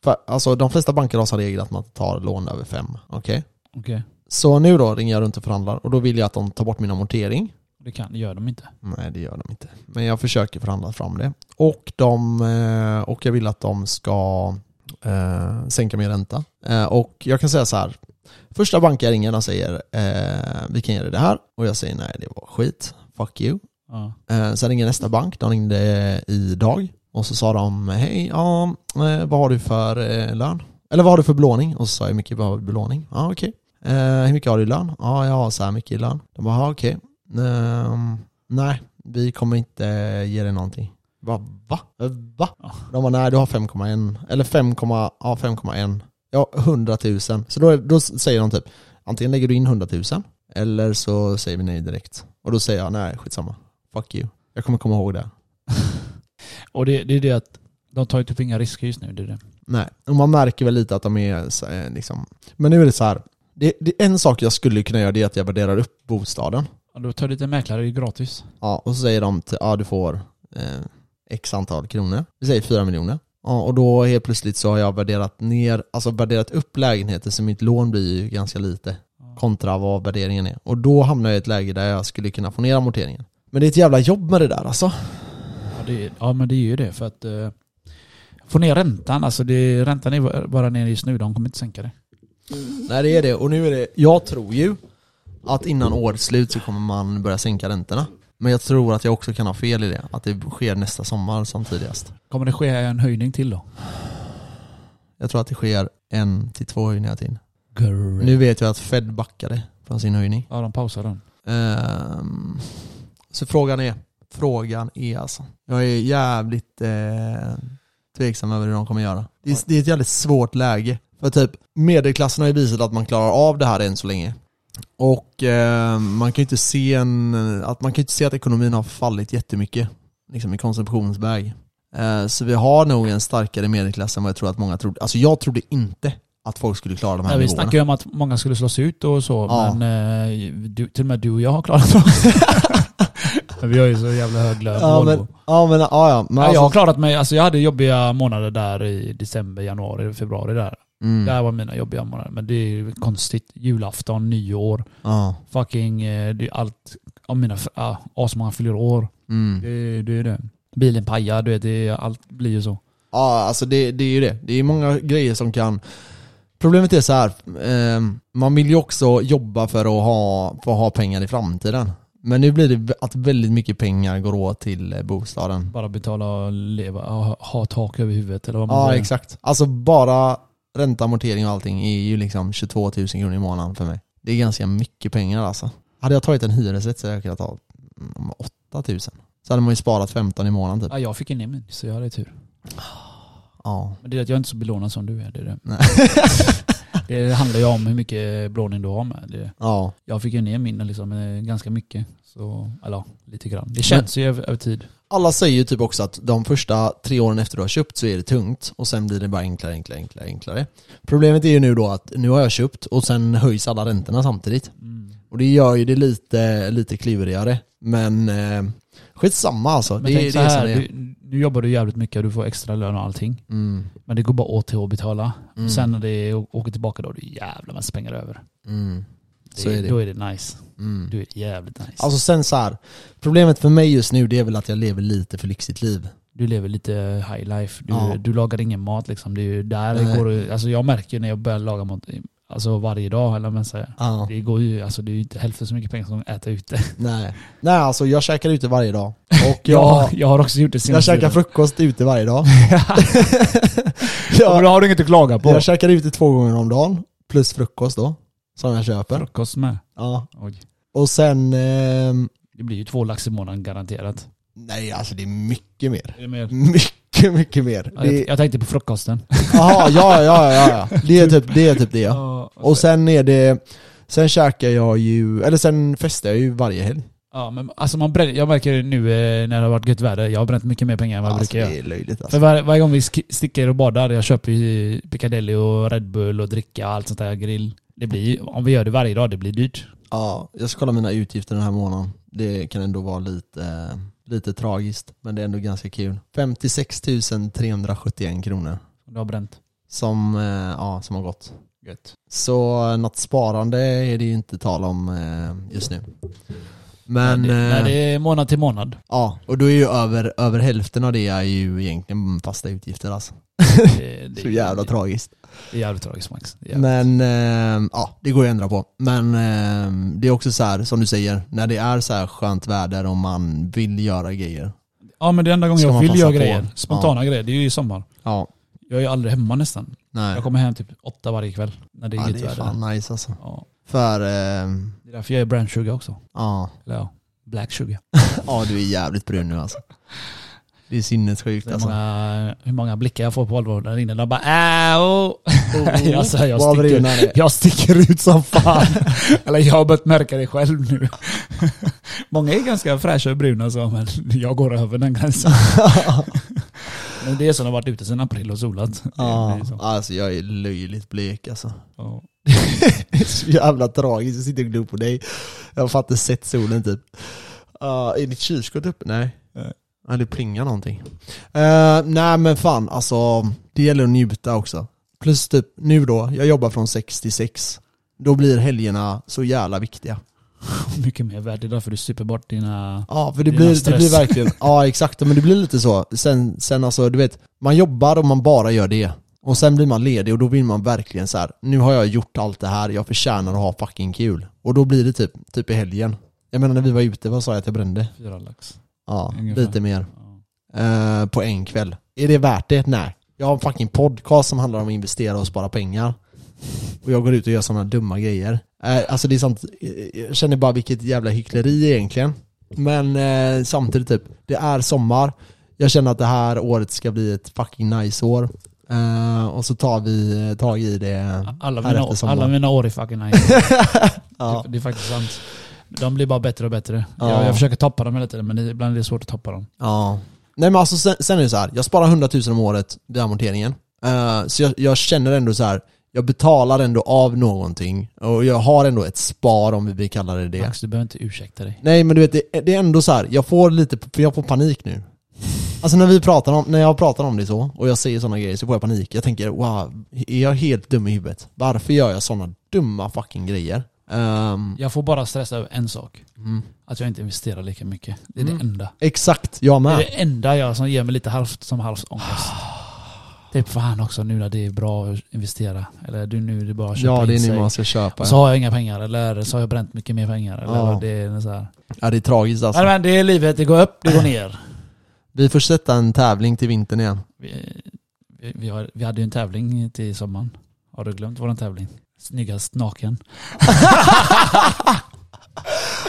Speaker 1: fa- alltså de flesta banker har som regel att man tar lån över 5. Okej?
Speaker 2: Okej,
Speaker 1: Så nu då ringer jag runt och förhandlar och då vill jag att de tar bort min amortering.
Speaker 2: det kan, det gör de inte.
Speaker 1: Nej det gör de inte. Men jag försöker förhandla fram det. Och, de, eh, och jag vill att de ska eh, sänka min ränta. Eh, och jag kan säga så här. Första banken jag ringer de säger eh, vi kan ge dig det här. Och jag säger nej det var skit. Fuck you.
Speaker 2: Ja. [LAUGHS]
Speaker 1: Eh, sen ringer nästa bank. De ringde idag. Och så sa de hej, ja, eh, vad har du för eh, lön? Eller vad har du för belåning? Och så sa jag hur mycket har du i belåning? Ja okej. Eh, hur mycket har du i lön? Ja jag har så här mycket i lön. De bara "Ja, okej. Ehm, nej, vi kommer inte ge dig någonting. Jag Bara, va? Eh, Va?
Speaker 2: Ja.
Speaker 1: De bara, nej du har 5,1. Eller 5, ja, 5,1. Ja, 100 000. Så då, då säger de typ, antingen lägger du in 100 000 eller så säger vi nej direkt. Och då säger jag, nej skitsamma. Fuck you. Jag kommer komma ihåg det.
Speaker 2: Och det, det är det att de tar ju typ inga risker just nu. Det är det.
Speaker 1: Nej, och man märker väl lite att de är så, eh, liksom... Men nu är det så här. Det, det, en sak jag skulle kunna göra det är att jag värderar upp bostaden.
Speaker 2: Ja, då tar du lite mäklare, det är gratis.
Speaker 1: Ja, och så säger de att ja, du får eh, x antal kronor. Vi säger 4 miljoner. Ja, och då helt plötsligt så har jag värderat ner, alltså värderat upp lägenheter så mitt lån blir ju ganska lite kontra vad värderingen är. Och då hamnar jag i ett läge där jag skulle kunna få ner amorteringen. Men det är ett jävla jobb med det där alltså.
Speaker 2: Ja, det är, ja men det är ju det för att eh, Få ner räntan. Alltså det, räntan är bara ner just nu. De kommer inte sänka det.
Speaker 1: Nej det är det. Och nu är det, jag tror ju att innan årets slut så kommer man börja sänka räntorna. Men jag tror att jag också kan ha fel i det. Att det sker nästa sommar som tidigast.
Speaker 2: Kommer det ske en höjning till då?
Speaker 1: Jag tror att det sker en till två höjningar till. Nu vet jag att Fed backade från sin höjning.
Speaker 2: Ja, de pausar den.
Speaker 1: Ehm, så frågan är, frågan är alltså. Jag är jävligt eh, tveksam över hur de kommer göra. Det är, det är ett jävligt svårt läge. För typ, medelklassen har ju visat att man klarar av det här än så länge. Och eh, man kan ju inte se en, att man kan ju inte se att ekonomin har fallit jättemycket. Liksom i konsumtionsväg. Eh, så vi har nog en starkare medelklass än vad jag tror att många trodde. Alltså jag trodde inte att folk skulle klara de här
Speaker 2: Ja, vi
Speaker 1: nivåerna.
Speaker 2: snackade ju om att många skulle slås ut och så,
Speaker 1: Ja.
Speaker 2: men eh, du, till och med du och jag har klarat oss. [LAUGHS] Men vi har ju så jävla hög lön på
Speaker 1: Ja
Speaker 2: Volvo.
Speaker 1: men, ja men, ja ja. Men
Speaker 2: Nej,
Speaker 1: alltså-
Speaker 2: jag har klarat mig, alltså jag hade jobbiga månader där i december, januari, februari där.
Speaker 1: Mm.
Speaker 2: Det här var mina jobbiga månader, men det är ju konstigt. Julafton, nyår,
Speaker 1: Ja.
Speaker 2: fucking, eh, det är allt. Om mina, f- ah, asmånga fyller år.
Speaker 1: Mm.
Speaker 2: Det, det är det. Bilen pajar, du vet, det, är- allt blir ju så.
Speaker 1: Ja, alltså det, det är ju det. Det är många grejer som kan... Problemet är så här. ehm, man vill ju också jobba för att, ha, för att ha pengar i framtiden. Men nu blir det vä- att väldigt mycket pengar går åt till eh, bostaden.
Speaker 2: Bara betala och leva, ha, ha tak över huvudet eller vad man
Speaker 1: Ja,
Speaker 2: säger.
Speaker 1: exakt. Alltså bara ränta, amortering och allting är ju liksom 22 000 kronor i månaden för mig. Det är ganska mycket pengar alltså. Hade jag tagit en hyresrätt så hade jag kunnat ta mm, 8 000. Så hade man ju sparat 15 i månaden typ.
Speaker 2: Ja, jag fick in min, så jag hade tur.
Speaker 1: Ja.
Speaker 2: Men det är att jag är inte så belånad som du är. Det, är det.
Speaker 1: Nej.
Speaker 2: [LAUGHS] det handlar ju om hur mycket belåning du har med. Det,
Speaker 1: ja.
Speaker 2: jag fick ju ner min liksom, eh, ganska mycket. Så, eller ja, lite grann. Det känns ju över, över tid.
Speaker 1: Alla säger ju typ också att de första tre åren efter du har köpt så är det tungt och sen blir det bara enklare, enklare, enklare, enklare. Problemet är ju nu då att nu har jag köpt och sen höjs alla räntorna samtidigt.
Speaker 2: Mm.
Speaker 1: Och det gör ju det lite, lite klurigare. Men eh, skitsamma alltså.
Speaker 2: Men
Speaker 1: det,
Speaker 2: tänk
Speaker 1: det
Speaker 2: så
Speaker 1: är
Speaker 2: här,
Speaker 1: som det är.
Speaker 2: du, nu jobbar du jävligt mycket och du får extra lön och allting.
Speaker 1: Mm,
Speaker 2: Men det går bara åt till att betala.
Speaker 1: Mm.
Speaker 2: Sen när det å- åker tillbaka då har du jävla massa pengar över.
Speaker 1: mm, så är det.
Speaker 2: Då är det nice.
Speaker 1: Mm.
Speaker 2: Då är det jävligt nice.
Speaker 1: Alltså sen så här. problemet för mig just nu det är väl att jag lever lite för lyxigt liv.
Speaker 2: du lever lite high life. Du,
Speaker 1: Ja.
Speaker 2: du lagar ingen mat liksom. Det är ju där det
Speaker 1: Nej.
Speaker 2: går. det- Alltså jag märker ju när jag börjar laga mat alltså varje dag. Eller vad man säger.
Speaker 1: Ja.
Speaker 2: Det går ju, alltså det är ju inte hälften så mycket pengar som att äta ute. [LAUGHS]
Speaker 1: Nej. Nej alltså jag käkar ute varje dag. Och
Speaker 2: Jag,
Speaker 1: jag,
Speaker 2: jag har också gjort det
Speaker 1: jag
Speaker 2: senaste
Speaker 1: käkar
Speaker 2: [LAUGHS] tiden.
Speaker 1: frukost ute varje
Speaker 2: [LAUGHS]
Speaker 1: dag.
Speaker 2: Ja, men då har du inget att klaga på.
Speaker 1: Jag käkar ute två gånger om dagen, plus frukost då, som jag köper.
Speaker 2: Frukost med.
Speaker 1: Ja.
Speaker 2: Oj.
Speaker 1: Och sen, ehm,
Speaker 2: Det blir ju två lax i månaden garanterat.
Speaker 1: nej alltså det är mycket mer. [LAUGHS]
Speaker 2: Är det mer?
Speaker 1: Mycket, mycket mer.
Speaker 2: Ja, Jag,
Speaker 1: Det-
Speaker 2: jag tänkte på frukosten.
Speaker 1: Jaha, ja, ja, ja, ja. Det är typ det. Är typ det ja.
Speaker 2: Ja, och
Speaker 1: Och
Speaker 2: sen-
Speaker 1: sen är det, sen käkar jag ju, eller sen festar jag ju varje helg.
Speaker 2: ja, men alltså man bränner, jag märker det nu eh, när det har varit gött väder, jag har bränt mycket mer pengar än vad jag
Speaker 1: Alltså
Speaker 2: brukar göra.
Speaker 1: det är löjligt
Speaker 2: För
Speaker 1: alltså.
Speaker 2: var, varje gång vi sk- sticker och badar, jag köper ju Piccadilly och Red Bull och dricka och allt sånt där grill. Det blir ju- om vi gör det varje dag, det blir dyrt.
Speaker 1: Ja, jag ska kolla mina utgifter den här månaden. Det kan ändå vara lite, eh, lite tragiskt, men det är ändå ganska kul. 56 371 kronor
Speaker 2: Du har bränt.
Speaker 1: som, eh, ja, som har gått.
Speaker 2: Gött.
Speaker 1: Så eh, något sparande är det ju inte tal om eh, just nu. Men
Speaker 2: det, nej,
Speaker 1: eh,
Speaker 2: det är månad till månad.
Speaker 1: [LAUGHS] ja, och då är ju över, över hälften av det är ju egentligen fasta utgifter alltså.
Speaker 2: Det, det,
Speaker 1: Så jävla tragiskt.
Speaker 2: Det är jävligt tragiskt Max. Det är jävligt-
Speaker 1: Men eh, ja, det går ju att ändra på. Men eh, det är också så här, som du säger, när det är så här skönt väder och man vill göra grejer.
Speaker 2: Ja men det är enda gången
Speaker 1: Ska
Speaker 2: jag
Speaker 1: man
Speaker 2: vill
Speaker 1: passa
Speaker 2: göra
Speaker 1: på?
Speaker 2: grejer, spontana grejer, det är ju i sommar.
Speaker 1: Ja,
Speaker 2: Jag är ju aldrig hemma nästan.
Speaker 1: nej.
Speaker 2: Jag kommer hem typ åtta varje kväll när det är
Speaker 1: Ja,
Speaker 2: gött
Speaker 1: det är
Speaker 2: väder.
Speaker 1: fan nice alltså.
Speaker 2: Ja,
Speaker 1: För, eh,
Speaker 2: det är därför jag är brand sugar också.
Speaker 1: ja,
Speaker 2: Eller ja, black sugar.
Speaker 1: ja du är jävligt brun nu alltså. Det är sinnessjukt
Speaker 2: Det är
Speaker 1: alltså. [LAUGHS]
Speaker 2: många, hur många blickar jag får på Volvo där inne. De bara äh, oh. [LAUGHS] jag, säger, jag,
Speaker 1: Vad brun
Speaker 2: sticker,
Speaker 1: han är.
Speaker 2: [LAUGHS] jag sticker ut som fan. [LAUGHS] Eller jag har börjat märka det själv nu. [LAUGHS] många är ganska fräscha och bruna så, men jag går över
Speaker 1: [LAUGHS]
Speaker 2: den gränsen. men det är som har varit ute sedan april och solat. Det
Speaker 1: Ja,
Speaker 2: blir så.
Speaker 1: alltså jag är löjligt blek alltså.
Speaker 2: Ja.
Speaker 1: [LAUGHS] Det är så jävla tragiskt, jag sitter och glor på dig. Jag har fan inte sett solen typ. Uh, är ditt kylskåp uppe? Nej.
Speaker 2: Nej.
Speaker 1: Ja, det plingar någonting. Eh, nej men fan alltså, det gäller att njuta också. Plus typ nu då, jag jobbar från 6 till 6. Då blir helgerna så jävla viktiga.
Speaker 2: mycket mer värd. Det är därför du super bort dina...
Speaker 1: Ja, för det
Speaker 2: Det är
Speaker 1: blir, det
Speaker 2: stress.
Speaker 1: blir verkligen, ja exakt, men det blir lite så. Sen, sen alltså, du vet, man jobbar och man bara gör det. Och sen blir man ledig och då vill man verkligen så här. nu har jag gjort allt det här, jag förtjänar att ha fucking kul. Och då blir det typ, typ i helgen. Jag menar när vi var ute, vad sa jag att jag brände?
Speaker 2: Fyra lax.
Speaker 1: Ja,
Speaker 2: Ungefär.
Speaker 1: lite mer.
Speaker 2: Ja.
Speaker 1: Eh, på en kväll. Är det värt det? Nej. Jag har en fucking podcast som handlar om att investera och spara pengar. Och jag går ut och gör sådana dumma grejer. Eh, alltså det är sant, eh, jag känner bara vilket jävla hyckleri egentligen. Men eh, samtidigt typ, det är sommar. Jag känner att det här året ska bli ett fucking nice år. Eh, och så tar vi eh, tag i det.
Speaker 2: Alla,
Speaker 1: Här
Speaker 2: mina,
Speaker 1: efter sommaren.
Speaker 2: alla mina år är fucking
Speaker 1: [LAUGHS]
Speaker 2: nice.
Speaker 1: Ja.
Speaker 2: det, det är faktiskt sant. De blir bara bättre och bättre.
Speaker 1: Ja.
Speaker 2: Jag, jag försöker toppa dem hela tiden men det- ibland är det svårt att toppa dem.
Speaker 1: Ja. Nej men alltså sen, sen är det så här. jag sparar 100 000 om året vid amorteringen. Eh, så jag, jag känner ändå så här. jag betalar ändå av någonting och jag har ändå ett spar om vi vill kalla det det.
Speaker 2: Max, du behöver inte ursäkta dig.
Speaker 1: Nej men du vet, det, det är ändå så här. jag får lite, för jag får panik nu. Alltså när vi pratar om, när jag pratar om det så, och jag säger sådana grejer så får jag panik. Jag tänker wow, är jag helt dum i huvudet? Varför gör jag sådana dumma fucking grejer? Ehm,
Speaker 2: Jag får bara stressa över en sak.
Speaker 1: mm.
Speaker 2: Att jag inte investerar lika mycket. Det är
Speaker 1: Mm.
Speaker 2: det enda.
Speaker 1: Exakt, jag
Speaker 2: Det är
Speaker 1: med.
Speaker 2: det enda jag som ger mig lite halvt som halvt ångest.
Speaker 1: Ah.
Speaker 2: Typ fan också nu när det är bra att investera. Eller du nu det är bara att köpa
Speaker 1: Ja det
Speaker 2: in
Speaker 1: är nu
Speaker 2: sig.
Speaker 1: man ska köpa.
Speaker 2: Och Så har jag inga pengar eller så har jag bränt mycket mer pengar. Eller
Speaker 1: Ja.
Speaker 2: det är så här.
Speaker 1: Ja det är tragiskt alltså.
Speaker 2: Nej, men det är livet, det går upp, det
Speaker 1: [LAUGHS]
Speaker 2: går ner.
Speaker 1: Vi får sätta en tävling till vintern igen.
Speaker 2: Vi, vi, vi, har, vi hade ju en tävling till sommaren. Har du glömt våran tävling? Snyggast naken.
Speaker 1: Åh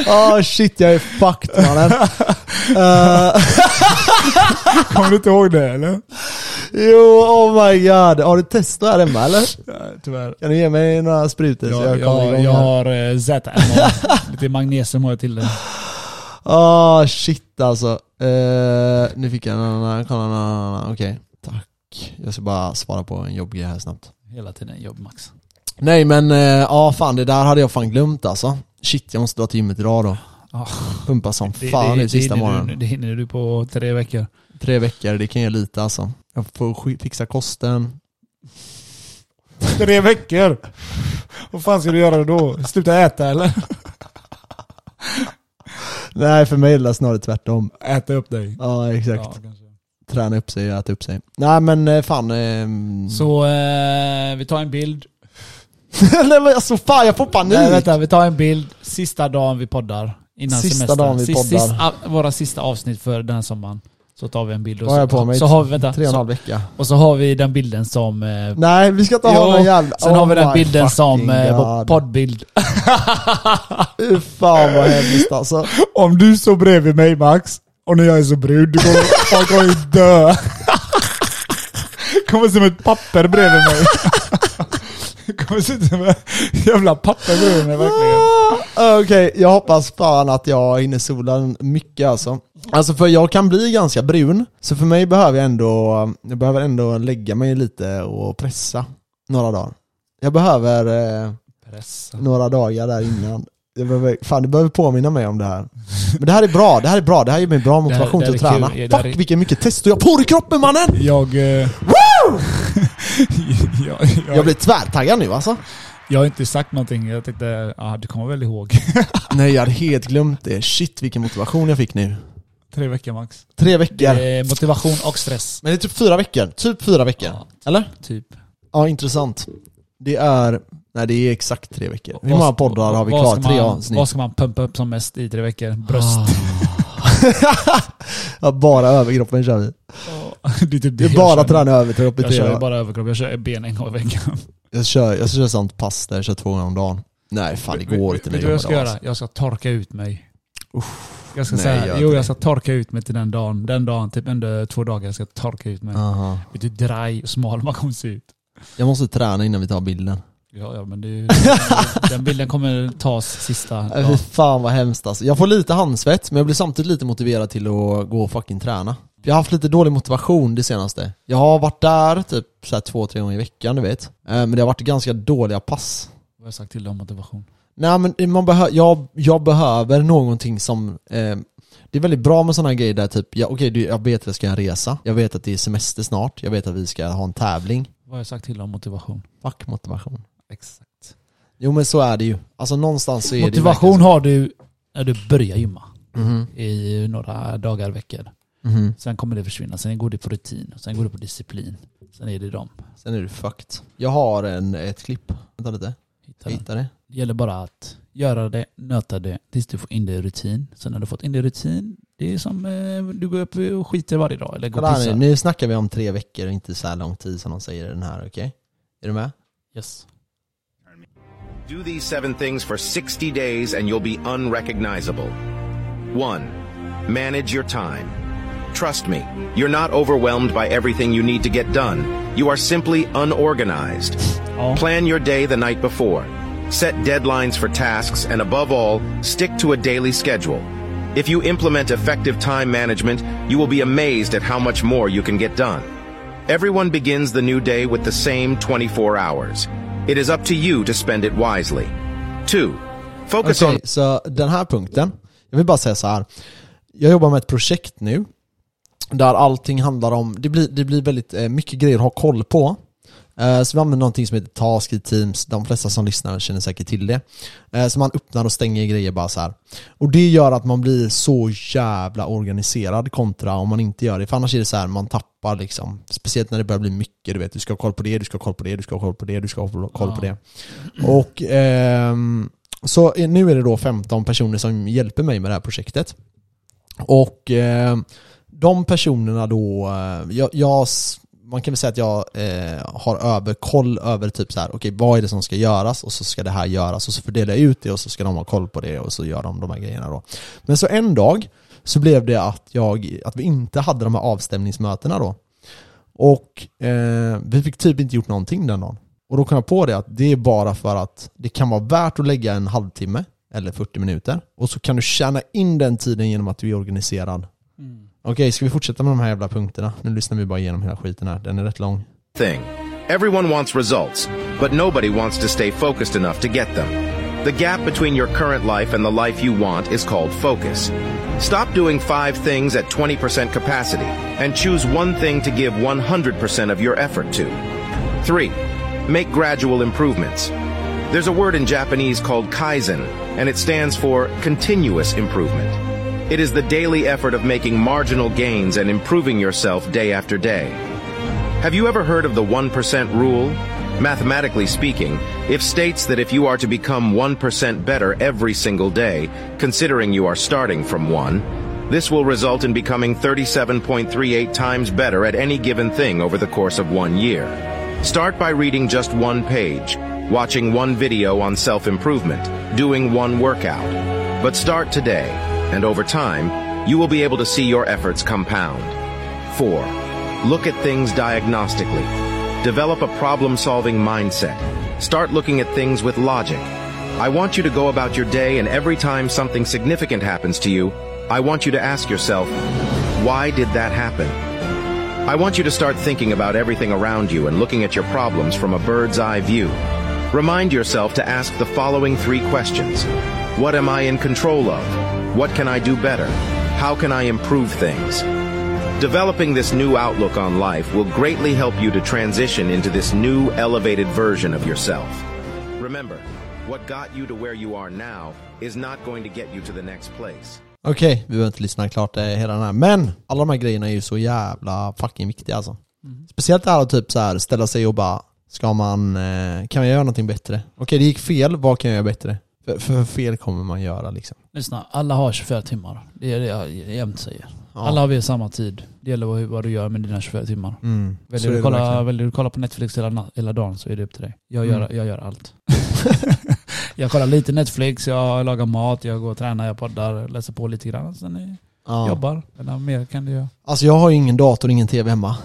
Speaker 1: Ah, shit, jag är fucked [LAUGHS] mannen. Eh,
Speaker 2: Kommer du inte ihåg det eller?
Speaker 1: jo, oh my god. Har du testat här hemma eller?
Speaker 2: Tyvärr.
Speaker 1: Kan du ge mig några sprutor så
Speaker 2: Jag,
Speaker 1: jag kommer
Speaker 2: jag,
Speaker 1: igång
Speaker 2: jag
Speaker 1: här?
Speaker 2: har eh, ZMA. [LAUGHS] Lite magnesium har jag till det.
Speaker 1: Åh Ah, shit alltså. Eh, nu fick jag en annan, kolla en annan, okej. Tack. Jag ska bara svara på en jobbgrej här snabbt.
Speaker 2: Hela tiden jobb max.
Speaker 1: Nej men, eh, ja fan det där hade jag fan glömt alltså. Shit, jag måste dra till gymmet idag då.
Speaker 2: Ja.
Speaker 1: Pumpa som fan nu sista
Speaker 2: hinner
Speaker 1: morgonen.
Speaker 2: Du, Ah. det hinner du på tre veckor.
Speaker 1: Tre veckor, det kan jag lite alltså. Jag får sk- fixa kosten,
Speaker 2: Tre veckor? [LAUGHS] Vad fan ska du göra då? Sluta äta eller?
Speaker 1: Nej, för mig är det snarare tvärtom.
Speaker 2: Äta upp dig.
Speaker 1: Ja, exakt.
Speaker 2: Ja, kanske.
Speaker 1: Träna upp sig och äta upp sig. Nej men eh, fan... ehm.
Speaker 2: Så eh, vi tar en bild.
Speaker 1: [LAUGHS] Nej men alltså fan, jag får panik!
Speaker 2: Nej vänta, vi tar en bild sista dagen vi poddar. Innan
Speaker 1: Sista
Speaker 2: semestern.
Speaker 1: dagen vi poddar.
Speaker 2: a- våra sista avsnitt för den här sommaren. Så tar vi en bild och
Speaker 1: Vad har
Speaker 2: så,
Speaker 1: jag på mig?
Speaker 2: så har vi, vänta,
Speaker 1: Tre och en
Speaker 2: så,
Speaker 1: halv vecka.
Speaker 2: och så har vi den bilden som... Eh,
Speaker 1: Nej, vi ska inte
Speaker 2: Jo,
Speaker 1: ha någon jävla... Oh
Speaker 2: sen har vi den Oh
Speaker 1: my
Speaker 2: bilden som
Speaker 1: fucking
Speaker 2: eh, vår
Speaker 1: God.
Speaker 2: poddbild.
Speaker 1: Fy fan vad hemskt alltså.
Speaker 2: Om du står bredvid mig Max, och när jag är så brud, du kommer, folk kommer ju dö. Kommer som ett papper bredvid mig. Kommer sitta som ett jävla papper bredvid mig
Speaker 1: Ah, Okej, jag hoppas fan att jag hinner sola mycket alltså. Alltså för jag kan bli ganska brun, så för mig behöver jag ändå, jag behöver ändå lägga mig lite och pressa några dagar. Jag behöver eh, några dagar där innan. Jag behöver, fan du behöver påminna mig om det här. Men det här är bra, det här är bra, det här ger mig bra motivation
Speaker 2: det här
Speaker 1: till att
Speaker 2: är kul.
Speaker 1: träna.
Speaker 2: Ja, det här
Speaker 1: Fuck
Speaker 2: är-
Speaker 1: vilken mycket testo jag har på i kroppen mannen!
Speaker 2: Jag... eh, [LAUGHS] jag, jag,
Speaker 1: Jag blir tvärtaggad nu alltså.
Speaker 2: jag har inte sagt någonting, jag tänkte, ja du kommer väl ihåg? [LAUGHS]
Speaker 1: Nej jag hade helt glömt det. Shit vilken motivation jag fick nu.
Speaker 2: Tre veckor max.
Speaker 1: Tre veckor.
Speaker 2: Eh, motivation och stress.
Speaker 1: Men det är typ fyra veckor. Typ fyra veckor.
Speaker 2: Ja.
Speaker 1: Eller?
Speaker 2: Typ.
Speaker 1: Ja, intressant. Det är... Nej, det är exakt tre veckor. Hur
Speaker 2: Vad-
Speaker 1: många poddar har vi
Speaker 2: vad
Speaker 1: kvar?
Speaker 2: ska
Speaker 1: Tre
Speaker 2: man- Vad
Speaker 1: avsnitt. Ah.
Speaker 2: ska man pumpa upp som mest i tre veckor? Bröst.
Speaker 1: [LAUGHS]
Speaker 2: [LAUGHS]
Speaker 1: Ja, bara överkroppen kör vi.
Speaker 2: det är typ
Speaker 1: Det är
Speaker 2: jag
Speaker 1: bara
Speaker 2: kör.
Speaker 1: träna överkropp i
Speaker 2: Jag
Speaker 1: tre
Speaker 2: kör ju
Speaker 1: dagar.
Speaker 2: bara överkropp, jag kör ben en gång i veckan.
Speaker 1: Jag kör, jag kör sånt pass där jag kör två gånger om dagen. Nej, fan det går inte. nio
Speaker 2: Vet du vad jag
Speaker 1: gånger
Speaker 2: ska
Speaker 1: om
Speaker 2: göra?
Speaker 1: dagen,
Speaker 2: Jag ska torka ut mig. jag ska
Speaker 1: nej, gör
Speaker 2: säga,
Speaker 1: inte
Speaker 2: jo
Speaker 1: det.
Speaker 2: jag ska torka ut mig till den dagen. Den dagen, typ under två dagar, jag ska torka ut mig.
Speaker 1: alltså. Aha.
Speaker 2: Vet du hur dry och smal man kommer se ut?
Speaker 1: Jag måste träna innan vi tar bilden.
Speaker 2: Ja, ja men det är ju,
Speaker 1: [LAUGHS]
Speaker 2: den bilden kommer tas sista
Speaker 1: Ja.
Speaker 2: dagen.
Speaker 1: Fy fan vad hemskt alltså. Jag får lite handsvett, men jag blir samtidigt lite motiverad till att gå och fucking träna. Jag har haft lite dålig motivation det senaste. Jag har varit där typ så här två, tre gånger i veckan, du vet. Eh, Men det har varit ganska dåliga pass.
Speaker 2: Vad har jag sagt till dig om motivation?
Speaker 1: Nej men man behö- jag, jag behöver någonting som... Eh, det är väldigt bra med sådana grejer där typ, ja, okej du, jag vet att jag ska göra en resa, jag vet att det är semester snart, jag vet att vi ska ha en tävling.
Speaker 2: Vad har jag sagt till dig om motivation?
Speaker 1: Fuck motivation.
Speaker 2: Exakt.
Speaker 1: Jo men så är det ju. Alltså någonstans så är det
Speaker 2: Motivation
Speaker 1: verkligen
Speaker 2: har du när du börjar gymma
Speaker 1: Mhm.
Speaker 2: i några dagar, veckor.
Speaker 1: Mhm.
Speaker 2: Sen kommer det försvinna. Sen går det på rutin. Sen går det på disciplin. Sen är det dem.
Speaker 1: Sen är du fucked. Jag har en, ett klipp. Vänta lite.
Speaker 2: Hitta
Speaker 1: Jag
Speaker 2: den.
Speaker 1: hittar det.
Speaker 2: Det gäller bara att göra det, nöta det tills du får in det i rutin. Sen när du fått in det i rutin, det är som eh, du går upp och skiter varje dag eller går
Speaker 1: Kolla
Speaker 2: och
Speaker 1: här nu,
Speaker 2: pissar.
Speaker 1: nu snackar vi om tre veckor och inte så här lång tid som de säger i den här, okej? Är du med?
Speaker 2: Yes.
Speaker 3: Do these seven things for 60 days and you'll be unrecognizable. 1. Manage your time. Trust me, you're not overwhelmed by everything you need to get done. You are simply unorganized.
Speaker 2: Ja.
Speaker 3: Plan your day the night before. Set deadlines for tasks and above all, stick to a daily schedule. If you implement effective time management, you will be amazed at how much more you can get done. Everyone begins the new day with the same 24 hours. It is up to you to spend it wisely. 2. Focus
Speaker 1: Okej,
Speaker 3: on
Speaker 1: så den här punkten. Jag vill bara säga så här. Jag jobbar med ett projekt nu. Där allting handlar om, det blir, det blir väldigt eh, mycket grejer att ha koll på. Eh, Så vi använder någonting som heter Task i Teams, de flesta som lyssnar känner säkert till det. Eh, Så man öppnar och stänger grejer bara så här. Och det gör att man blir så jävla organiserad kontra om man inte gör det. För annars är det så här, man tappar liksom. Speciellt när det börjar bli mycket, du vet. Du ska ha koll på det, du ska ha koll på det, du ska ha koll på det, du ska ha koll på det. Och ehm, så är- nu är det då 15 personer som hjälper mig med det här projektet. Och eh, de personerna då, eh, jag, jag, s- man kan väl säga att jag eh, har överkoll över typ så här, okej vad är det som ska göras och så ska det här göras och så fördelar jag ut det och så ska de ha koll på det och så gör de de här grejerna då. Men så en dag så blev det att, jag, att vi inte hade de här avstämningsmötena då. Och eh, vi fick typ inte gjort någonting den dagen. Och då kom jag på det att det är bara för att det kan vara värt att lägga en halvtimme eller 40 minuter. Och så kan du tjäna in den tiden genom att du är organiserad. Okej, ska vi fortsätta med de här jävla punkterna? Nu lyssnar vi bara igenom hela skiten här. Den är rätt lång.
Speaker 3: thing. Everyone wants results, but nobody wants to stay focused enough to get them. The gap between your current life and the life you want is called focus. Stop doing five things at 20% capacity and choose one thing to give 100% of your effort to. 3. Make gradual improvements. There's a word in Japanese called kaizen, and it stands for continuous improvement. It is the daily effort of making marginal gains and improving yourself day after day. Have you ever heard of the 1% rule? Mathematically speaking, it states that if you are to become 1% better every single day, considering you are starting from 1, this will result in becoming 37.38 times better at any given thing over the course of one year. Start by reading just one page, watching one video on self-improvement, doing one workout. But start today, and over time, you will be able to see your efforts compound. 4. Look at things diagnostically. Develop a problem solving mindset. Start looking at things with logic. I want you to go about your day, and every time something significant happens to you, I want you to ask yourself, why did that happen? I want you to start thinking about everything around you and looking at your problems from a bird's eye view. Remind yourself to ask the following three questions What am I in control of? What can I do better? How can I improve things? Developing this new outlook on life will greatly help you to transition into this new elevated version of yourself. Remember, what got you to where you are now is not going to get you to the next place.
Speaker 1: Okej, vi behöver inte lyssna klart eh, hela den här. Men alla de här grejerna är ju så jävla fucking viktiga alltså. Speciellt det här att typ så här ställa sig och bara, ska man, eh, kan jag göra någonting bättre? Okej, det gick fel, vad kan jag göra bättre? För, för fel kommer man göra liksom.
Speaker 2: Lyssna, alla har 24 timmar. Det är det jag jämt säger.
Speaker 1: Ja.
Speaker 2: Alla har vi samma tid. Det gäller vad, vad du gör med dina 24 timmar.
Speaker 1: Mm. Så
Speaker 2: Väljer
Speaker 1: är
Speaker 2: du,
Speaker 1: det
Speaker 2: kolla,
Speaker 1: verkligen.
Speaker 2: väljer du kolla på Netflix hela, na- hela dagen så är det upp till dig. Jag gör,
Speaker 1: Mm.
Speaker 2: jag gör allt. [LAUGHS] jag kollar lite Netflix, jag lagar mat, jag går och tränar, jag poddar, läser på lite grann. Sen är,
Speaker 1: Ja.
Speaker 2: jobbar. Eller mer kan du göra.
Speaker 1: Alltså jag har ju ingen dator, ingen tv hemma.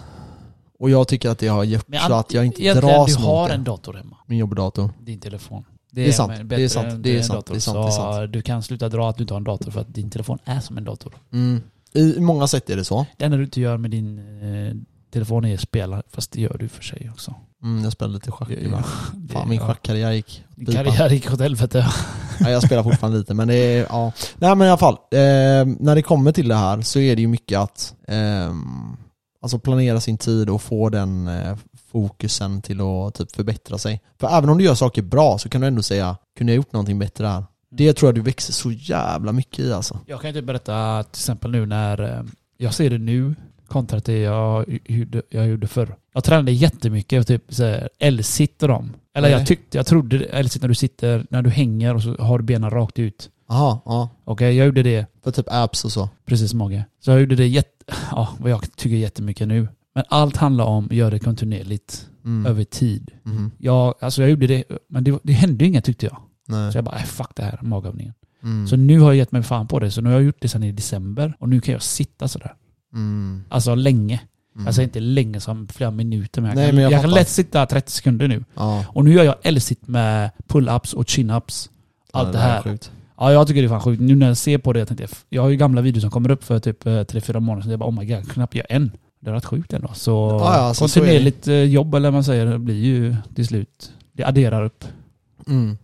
Speaker 1: Och jag tycker att det har gjort så att jag inte
Speaker 2: Egentligen,
Speaker 1: dras
Speaker 2: du har
Speaker 1: mot
Speaker 2: en
Speaker 1: det.
Speaker 2: dator hemma.
Speaker 1: Min jobbdator.
Speaker 2: Din telefon.
Speaker 1: Det är sant,
Speaker 2: men
Speaker 1: det är
Speaker 2: bättre
Speaker 1: sant,
Speaker 2: än-
Speaker 1: det är
Speaker 2: än
Speaker 1: sant, det är sant, det är
Speaker 2: Så
Speaker 1: sant.
Speaker 2: Du kan sluta dra att du inte har en dator för att din telefon är som en dator.
Speaker 1: Mm. I många sätt är det så.
Speaker 2: Det enda du inte gör med din eh, telefon är att spela, fast det gör du för sig också.
Speaker 1: Mm, jag spelade lite schack
Speaker 2: Det-
Speaker 1: ibland.
Speaker 2: det-
Speaker 1: Fan min
Speaker 2: ja.
Speaker 1: schackkarriär gick
Speaker 2: Din
Speaker 1: pipan.
Speaker 2: karriär gick åt helvete.
Speaker 1: Ja, jag spelar fortfarande lite men det är, ja. Nej men i alla fall, eh, när det kommer till det här så är det ju mycket att ehm, alltså planera sin tid och få den eh, fokusen till att typ förbättra sig. För även om du gör saker bra så kan du ändå säga, kunde jag gjort någonting bättre här? Det
Speaker 2: Mm.
Speaker 1: tror jag du växer så jävla mycket i alltså.
Speaker 2: Jag kan ju typ berätta till exempel nu när eh, jag ser det nu kontra till jag gjorde, jag gjorde förr. Jag tränade jättemycket, typ så här L-sit och dem. Eller
Speaker 1: Nej.
Speaker 2: jag tyckte, jag trodde det- L-sit när du sitter, när du hänger och så har du benen rakt ut.
Speaker 1: Aha, ja.
Speaker 2: Okej, jag gjorde det
Speaker 1: För typ apps och så.
Speaker 2: precis mage. Så jag gjorde det jätte, ja, vad jag tycker jättemycket nu. Men allt handlar om att göra det kontinuerligt
Speaker 1: Mm.
Speaker 2: över tid.
Speaker 1: Mhm.
Speaker 2: Jag, alltså jag gjorde det, men det, det hände ju inget tyckte jag.
Speaker 1: Nej.
Speaker 2: Så jag bara, äh, fuck det här, magövningen.
Speaker 1: Mm.
Speaker 2: Så nu har jag gett mig fan på det. Så nu har jag gjort det sedan i december och nu kan jag sitta sådär.
Speaker 1: Mm.
Speaker 2: Alltså länge.
Speaker 1: Mm.
Speaker 2: Alltså inte länge som flera minuter. Men jag,
Speaker 1: Nej,
Speaker 2: kan,
Speaker 1: men jag
Speaker 2: jag, kan
Speaker 1: fattar.
Speaker 2: lätt sitta 30 sekunder nu.
Speaker 1: Ja.
Speaker 2: Och nu gör jag L-sit med pull-ups och chin-ups. Allt
Speaker 1: Ja,
Speaker 2: det
Speaker 1: där är
Speaker 2: här.
Speaker 1: sjukt.
Speaker 2: Ja, jag tycker det är fan sjukt. Nu när jag ser på det, jag tänkte, jag har ju gamla videor som kommer upp för typ eh, 3-4 månader sedan. Jag bara oh my god, knappt gör en. Det är rätt sjukt ändå. Så
Speaker 1: Ja, ja, alltså, så är det.
Speaker 2: kontinuerligt eh, jobb eller vad man säger, det blir ju till slut, det adderar upp.
Speaker 1: Mm.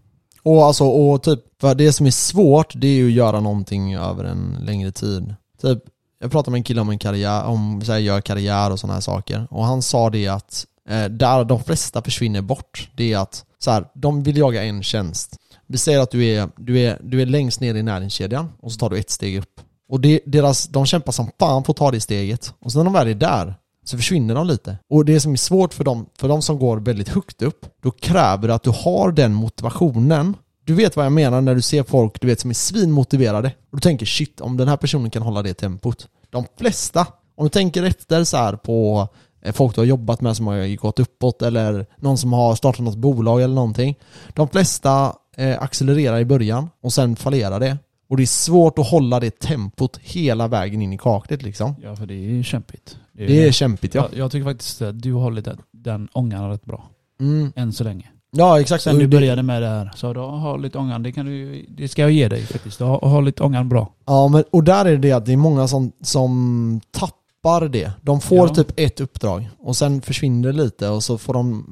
Speaker 1: Och alltså, och typ, för det som är svårt det är ju att göra någonting över en längre tid. Typ, jag pratade med en kille om en karriär, om så här, gör karriär och sådana här saker. Och han sa det att eh, där de flesta försvinner bort, det är att så här, de vill jaga en tjänst. Vi säger att du är, du är, du är längst ner i näringskedjan och så tar du ett steg upp. Och det, deras, de kämpar som fan för att ta det steget. Och sen när de väl är där så försvinner de lite. Och det som är svårt för dem, för de som går väldigt högt upp, då kräver det att du har den motivationen. Du vet vad jag menar när du ser folk du vet, som är svinmotiverade. Och du tänker shit, om den här personen kan hålla det tempot. De flesta, om du tänker efter så här på eh, folk du har jobbat med som har gått uppåt eller någon som har startat något bolag eller någonting. De flesta eh, accelererar i början och sen fallerar det. Och det är svårt att hålla det tempot hela vägen in i kaklet liksom.
Speaker 2: Ja, för det är ju kämpigt. Det är,
Speaker 1: Det är kämpigt ja.
Speaker 2: jag, jag tycker faktiskt att du har lite den ångan rätt bra.
Speaker 1: Mm.
Speaker 2: Än så länge.
Speaker 1: Ja exakt.
Speaker 2: Sen
Speaker 1: Och
Speaker 2: du
Speaker 1: det-
Speaker 2: började med det här, så du har lite ångan, det, kan du, det ska jag ge dig faktiskt. Du har, har lite ångan bra.
Speaker 1: Ja, men, och där är det att det är många som, som tappar det. De får
Speaker 2: Ja.
Speaker 1: typ ett uppdrag och sen försvinner det lite och så får de...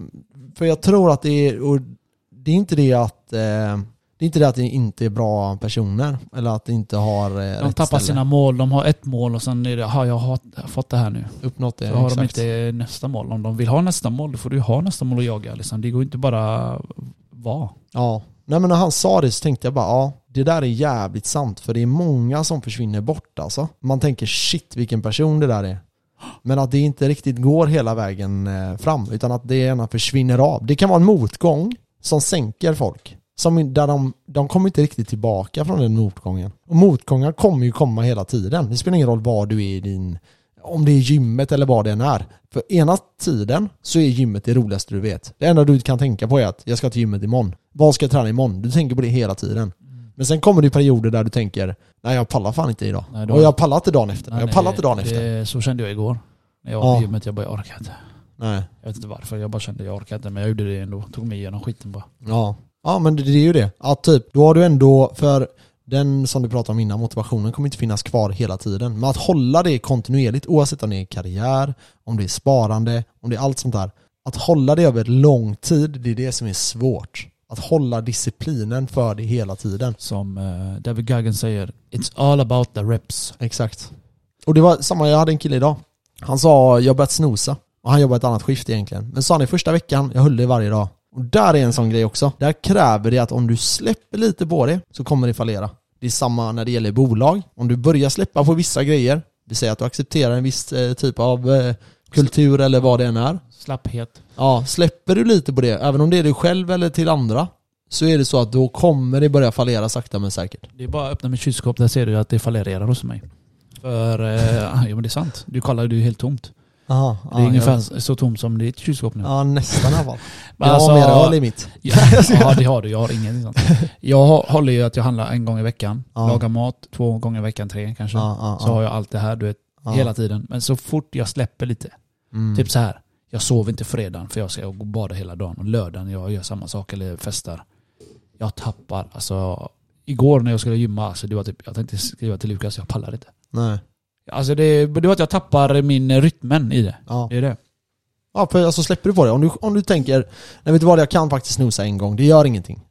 Speaker 1: För jag tror att det är... Och det är inte det att... Eh, det är inte det att det inte är bra personer eller att det inte har eh,
Speaker 2: De tappar sina mål, de har ett mål och sen är det, "Aha, jag har jag har fått det här nu.
Speaker 1: Uppnått det,
Speaker 2: Så har de
Speaker 1: exakt.
Speaker 2: inte nästa mål. Om de vill ha nästa mål, då får du ju ha nästa mål att jaga. Liksom. Det går inte bara vara.
Speaker 1: Ja. Nej men när han sa det så tänkte jag bara, ja det där är jävligt sant för det är många som försvinner bort alltså. Man tänker shit vilken person det där är. Men att det inte riktigt går hela vägen eh, fram utan att det gärna försvinner av. Det kan vara en motgång som sänker folk. Som, där de, de kommer inte riktigt tillbaka från den motgången. Och motgångar kommer ju komma hela tiden. Det spelar ingen roll var du är i din... Om det är gymmet eller vad det än är. För ena tiden så är gymmet det roligaste du vet. Det enda du kan tänka på är att jag ska till gymmet imorgon. Vad ska jag träna imorgon? Du tänker på det hela tiden. Men sen kommer det ju perioder där du tänker Nej jag pallar fan inte idag.
Speaker 2: Nej, då-
Speaker 1: Och jag pallar inte dagen efter.
Speaker 2: Nej,
Speaker 1: jag pallar
Speaker 2: det-
Speaker 1: inte dagen efter.
Speaker 2: det- Så kände jag igår. När jag var
Speaker 1: Ja.
Speaker 2: på gymmet, jag bara jag orkar inte.
Speaker 1: Nej.
Speaker 2: Jag vet inte varför, jag bara kände jag orkar inte. Men jag gjorde det ändå. Tog mig igenom skiten bara.
Speaker 1: Ja. ja, men det, det är ju det. Ja, typ. Då har du ändå, för den som du pratade om innan, motivationen kommer inte finnas kvar hela tiden. Men att hålla det kontinuerligt, oavsett om det är karriär, om det är sparande, om det är allt sånt där. Att hålla det över lång tid, det är det som är svårt. Att hålla disciplinen för det hela tiden.
Speaker 2: Som eh, David Guggen säger, it's all about the reps.
Speaker 1: Exakt. Och det var samma, jag hade en kille idag. Han sa, jag har börjat snosa. Och han jobbar ett annat skift egentligen. Men sa han i första veckan, jag höll det varje dag. Och där är en sån grej också. Där kräver det att om du släpper lite på det så kommer det fallera. Det är samma när det gäller bolag. Om du börjar släppa på vissa grejer, vi säger att du accepterar en viss eh, typ av eh, kultur eller vad det än är.
Speaker 2: Slapphet.
Speaker 1: Ja, släpper du lite på det, även om det är du själv eller till andra, så är det så att då kommer det börja fallera sakta men säkert.
Speaker 2: Det är bara att öppna mitt kylskåp, där ser du att det fallerar hos mig. För, eh, [LAUGHS] ja men det är sant. Du kollar, det är helt tomt.
Speaker 1: Aha,
Speaker 2: Det är ungefär så tomt som ditt kylskåp nu.
Speaker 1: Ja, nästan i alla fall.
Speaker 2: Men
Speaker 1: Jag har
Speaker 2: alltså-
Speaker 1: mer öl i mitt.
Speaker 2: [LAUGHS] Ja,
Speaker 1: [LAUGHS]
Speaker 2: ja det har du, jag har ingenting sånt. Jag har- håller ju att jag handlar en gång i veckan.
Speaker 1: Ja.
Speaker 2: Lagar mat två gånger i veckan, tre kanske.
Speaker 1: Ja, ja,
Speaker 2: Så
Speaker 1: ja.
Speaker 2: har jag allt det här, du vet,
Speaker 1: Ja.
Speaker 2: hela tiden. Men så fort jag släpper lite,
Speaker 1: Mm.
Speaker 2: typ så här. Jag sover inte fredagen för jag ska gå och bada hela dagen. Och lördagen jag gör samma sak eller festar. Jag tappar, alltså. Igår när jag skulle gymma, alltså, det var typ, jag tänkte skriva till Lukas, jag pallar inte.
Speaker 1: Nej.
Speaker 2: Alltså det, det var att jag tappar min rytmen i det.
Speaker 1: Ja.
Speaker 2: Det är det.
Speaker 1: ja, för alltså släpper du på det. Om du, om du tänker, nej vet du vad, jag kan faktiskt snusa en gång, det gör ingenting.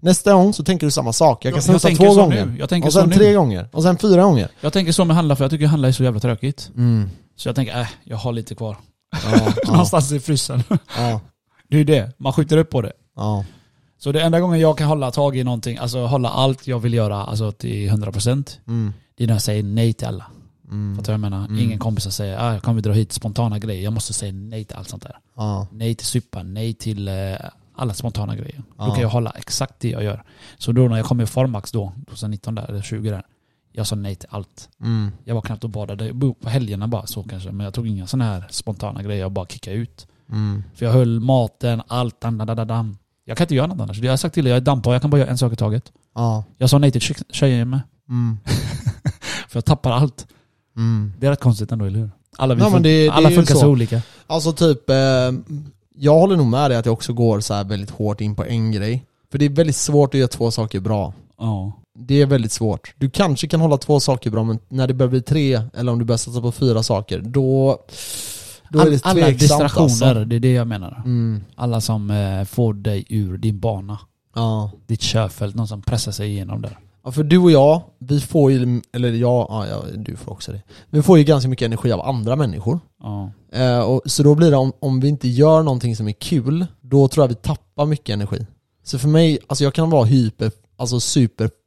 Speaker 1: Nästa gång så tänker du samma sak. Jag kan
Speaker 2: Mm. Jag- jag
Speaker 1: snusa
Speaker 2: tänker
Speaker 1: två
Speaker 2: så
Speaker 1: gånger.
Speaker 2: nu. Jag tänker
Speaker 1: och sen
Speaker 2: så nu.
Speaker 1: tre gånger. Och sen fyra gånger.
Speaker 2: Jag tänker så med handla för jag tycker handla är så jävla tråkigt.
Speaker 1: Mm.
Speaker 2: Så jag tänker, äh, jag har lite kvar.
Speaker 1: Ja, ja,
Speaker 2: [LAUGHS] Någonstans i frysen.
Speaker 1: ja,
Speaker 2: Det är ju det, man skjuter upp på det.
Speaker 1: ja.
Speaker 2: Så det enda gången jag kan hålla tag i någonting, alltså hålla allt jag vill göra alltså till 100%
Speaker 1: Mm.
Speaker 2: det är när jag säger nej till alla.
Speaker 1: Mm.
Speaker 2: Fattar du vad jag menar?
Speaker 1: Mm.
Speaker 2: Ingen kompis som säger ah, kan vi dra hit spontana grejer. Jag måste säga nej till allt sånt där.
Speaker 1: Ja.
Speaker 2: Nej till supa, nej till eh, alla spontana grejer. Då
Speaker 1: Ja.
Speaker 2: kan jag hålla exakt det jag gör. Så då när jag kom i Formax då, 2019 där, eller 20 där, jag sa nej till allt.
Speaker 1: Mm.
Speaker 2: Jag var knappt och badade, Jag bodde på helgerna bara så kanske, men jag tog inga sådana här spontana grejer, jag bara kickade ut.
Speaker 1: Mm.
Speaker 2: För jag höll maten, allt, dam, dam, dam, dam. Jag kan inte göra något annars. Jag har sagt till dig, jag är dampare, jag kan bara göra en sak i taget.
Speaker 1: Ja.
Speaker 2: Jag sa nej till tje- tjejer med,
Speaker 1: Mm.
Speaker 2: för jag tappar allt.
Speaker 1: Mm.
Speaker 2: Det är rätt konstigt ändå, eller hur? Alla, vi
Speaker 1: Ja, men
Speaker 2: fun-
Speaker 1: det- det
Speaker 2: alla
Speaker 1: är ju
Speaker 2: funkar så.
Speaker 1: så.
Speaker 2: olika.
Speaker 1: Alltså typ, eh, jag håller nog med dig att jag också går så här väldigt hårt in på en grej. För det är väldigt svårt att göra två saker bra.
Speaker 2: Ja.
Speaker 1: Det är väldigt svårt. Du kanske kan hålla två saker bra, men när det börjar bli tre, eller om du börjar satsa på fyra saker, då... Då är
Speaker 2: All,
Speaker 1: det
Speaker 2: alla
Speaker 1: tveksamt,
Speaker 2: distraktioner,
Speaker 1: Alltså.
Speaker 2: det är det jag menar.
Speaker 1: Mm.
Speaker 2: Alla som eh, får dig ur din bana.
Speaker 1: Ja.
Speaker 2: Ditt körfält, någon som pressar sig igenom där.
Speaker 1: ja. För du och jag, vi får ju, eller jag, ja, ja, du får också det. Vi får ju ganska mycket energi av andra människor.
Speaker 2: Ja.
Speaker 1: Eh, och, så då blir det, om, om vi inte gör någonting som är kul, då tror jag vi tappar mycket energi. Så för mig, alltså jag kan vara hyper, alltså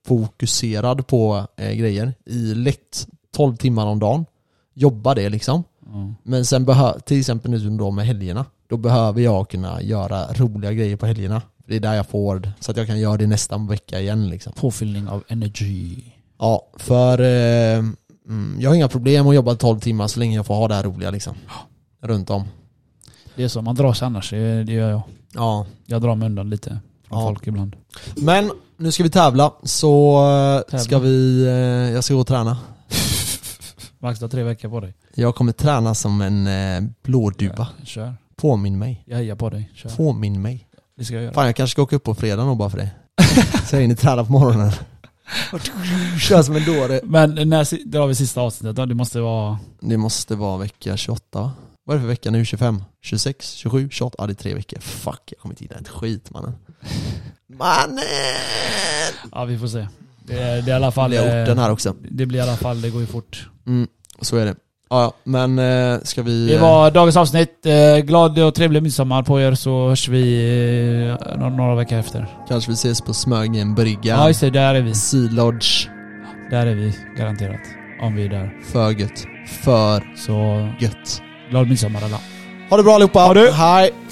Speaker 1: superfokuserad på eh, grejer i lätt 12 timmar om dagen. Jobba det liksom.
Speaker 2: Ja.
Speaker 1: Men sen behöver, till exempel nu då med helgerna, då behöver jag kunna göra roliga grejer på helgerna. Det är där jag får det, så att jag kan göra det nästa vecka igen liksom.
Speaker 2: Påfyllning av energi.
Speaker 1: Ja, för eh, mm, jag har inga problem att jobba 12 timmar så länge jag får ha det här roliga liksom. Runt om.
Speaker 2: Det är så, man drar sig annars. Det det gör jag.
Speaker 1: Ja.
Speaker 2: Jag drar mig undan lite från
Speaker 1: Ja.
Speaker 2: folk ibland.
Speaker 1: Men nu ska vi tävla, så eh,
Speaker 2: Tävla.
Speaker 1: ska vi... eh, Jag ska gå och träna.
Speaker 2: Max, du har tre veckor på dig.
Speaker 1: Jag kommer träna som en eh, blåduva.
Speaker 2: Ja, Kör.
Speaker 1: Påminn mig.
Speaker 2: Jag hejar på dig. Kör.
Speaker 1: Påminn mig.
Speaker 2: Det ska jag göra.
Speaker 1: Fan jag kanske ska åka upp på fredag nog bara för det. [LAUGHS] Så jag hinner träna på
Speaker 2: [LAUGHS]
Speaker 1: morgonen. Kör som en dåre.
Speaker 2: Men när si- drar vi sista avsnittet då? Det måste vara...
Speaker 1: Det måste vara vecka 28 va? Vad är det för vecka nu? 25? 26? 27? 28? Ja det är tre veckor. Fuck, jag kommer inte hinna ett skit mannen. Mannen!
Speaker 2: Ja, vi får se. Det är, det är i alla fall...
Speaker 1: Jag har
Speaker 2: eh,
Speaker 1: gjort den här också.
Speaker 2: Det blir i alla fall, det går ju fort.
Speaker 1: Mm, så är det. Ja, ja, men eh, ska vi...
Speaker 2: Det
Speaker 1: eh,
Speaker 2: var dagens avsnitt. Eh, Glad och trevlig midsommar på er så hörs vi eh, några, några veckor efter.
Speaker 1: Kanske vi ses på Smögen brygga.
Speaker 2: Ja just det, där är vi.
Speaker 1: Sea Lodge.
Speaker 2: Där är vi garanterat. Om vi är där.
Speaker 1: För gött. För
Speaker 2: Så
Speaker 1: gött.
Speaker 2: glad midsommar alla.
Speaker 1: Ha det bra allihopa.
Speaker 2: Ha det.
Speaker 1: Hej.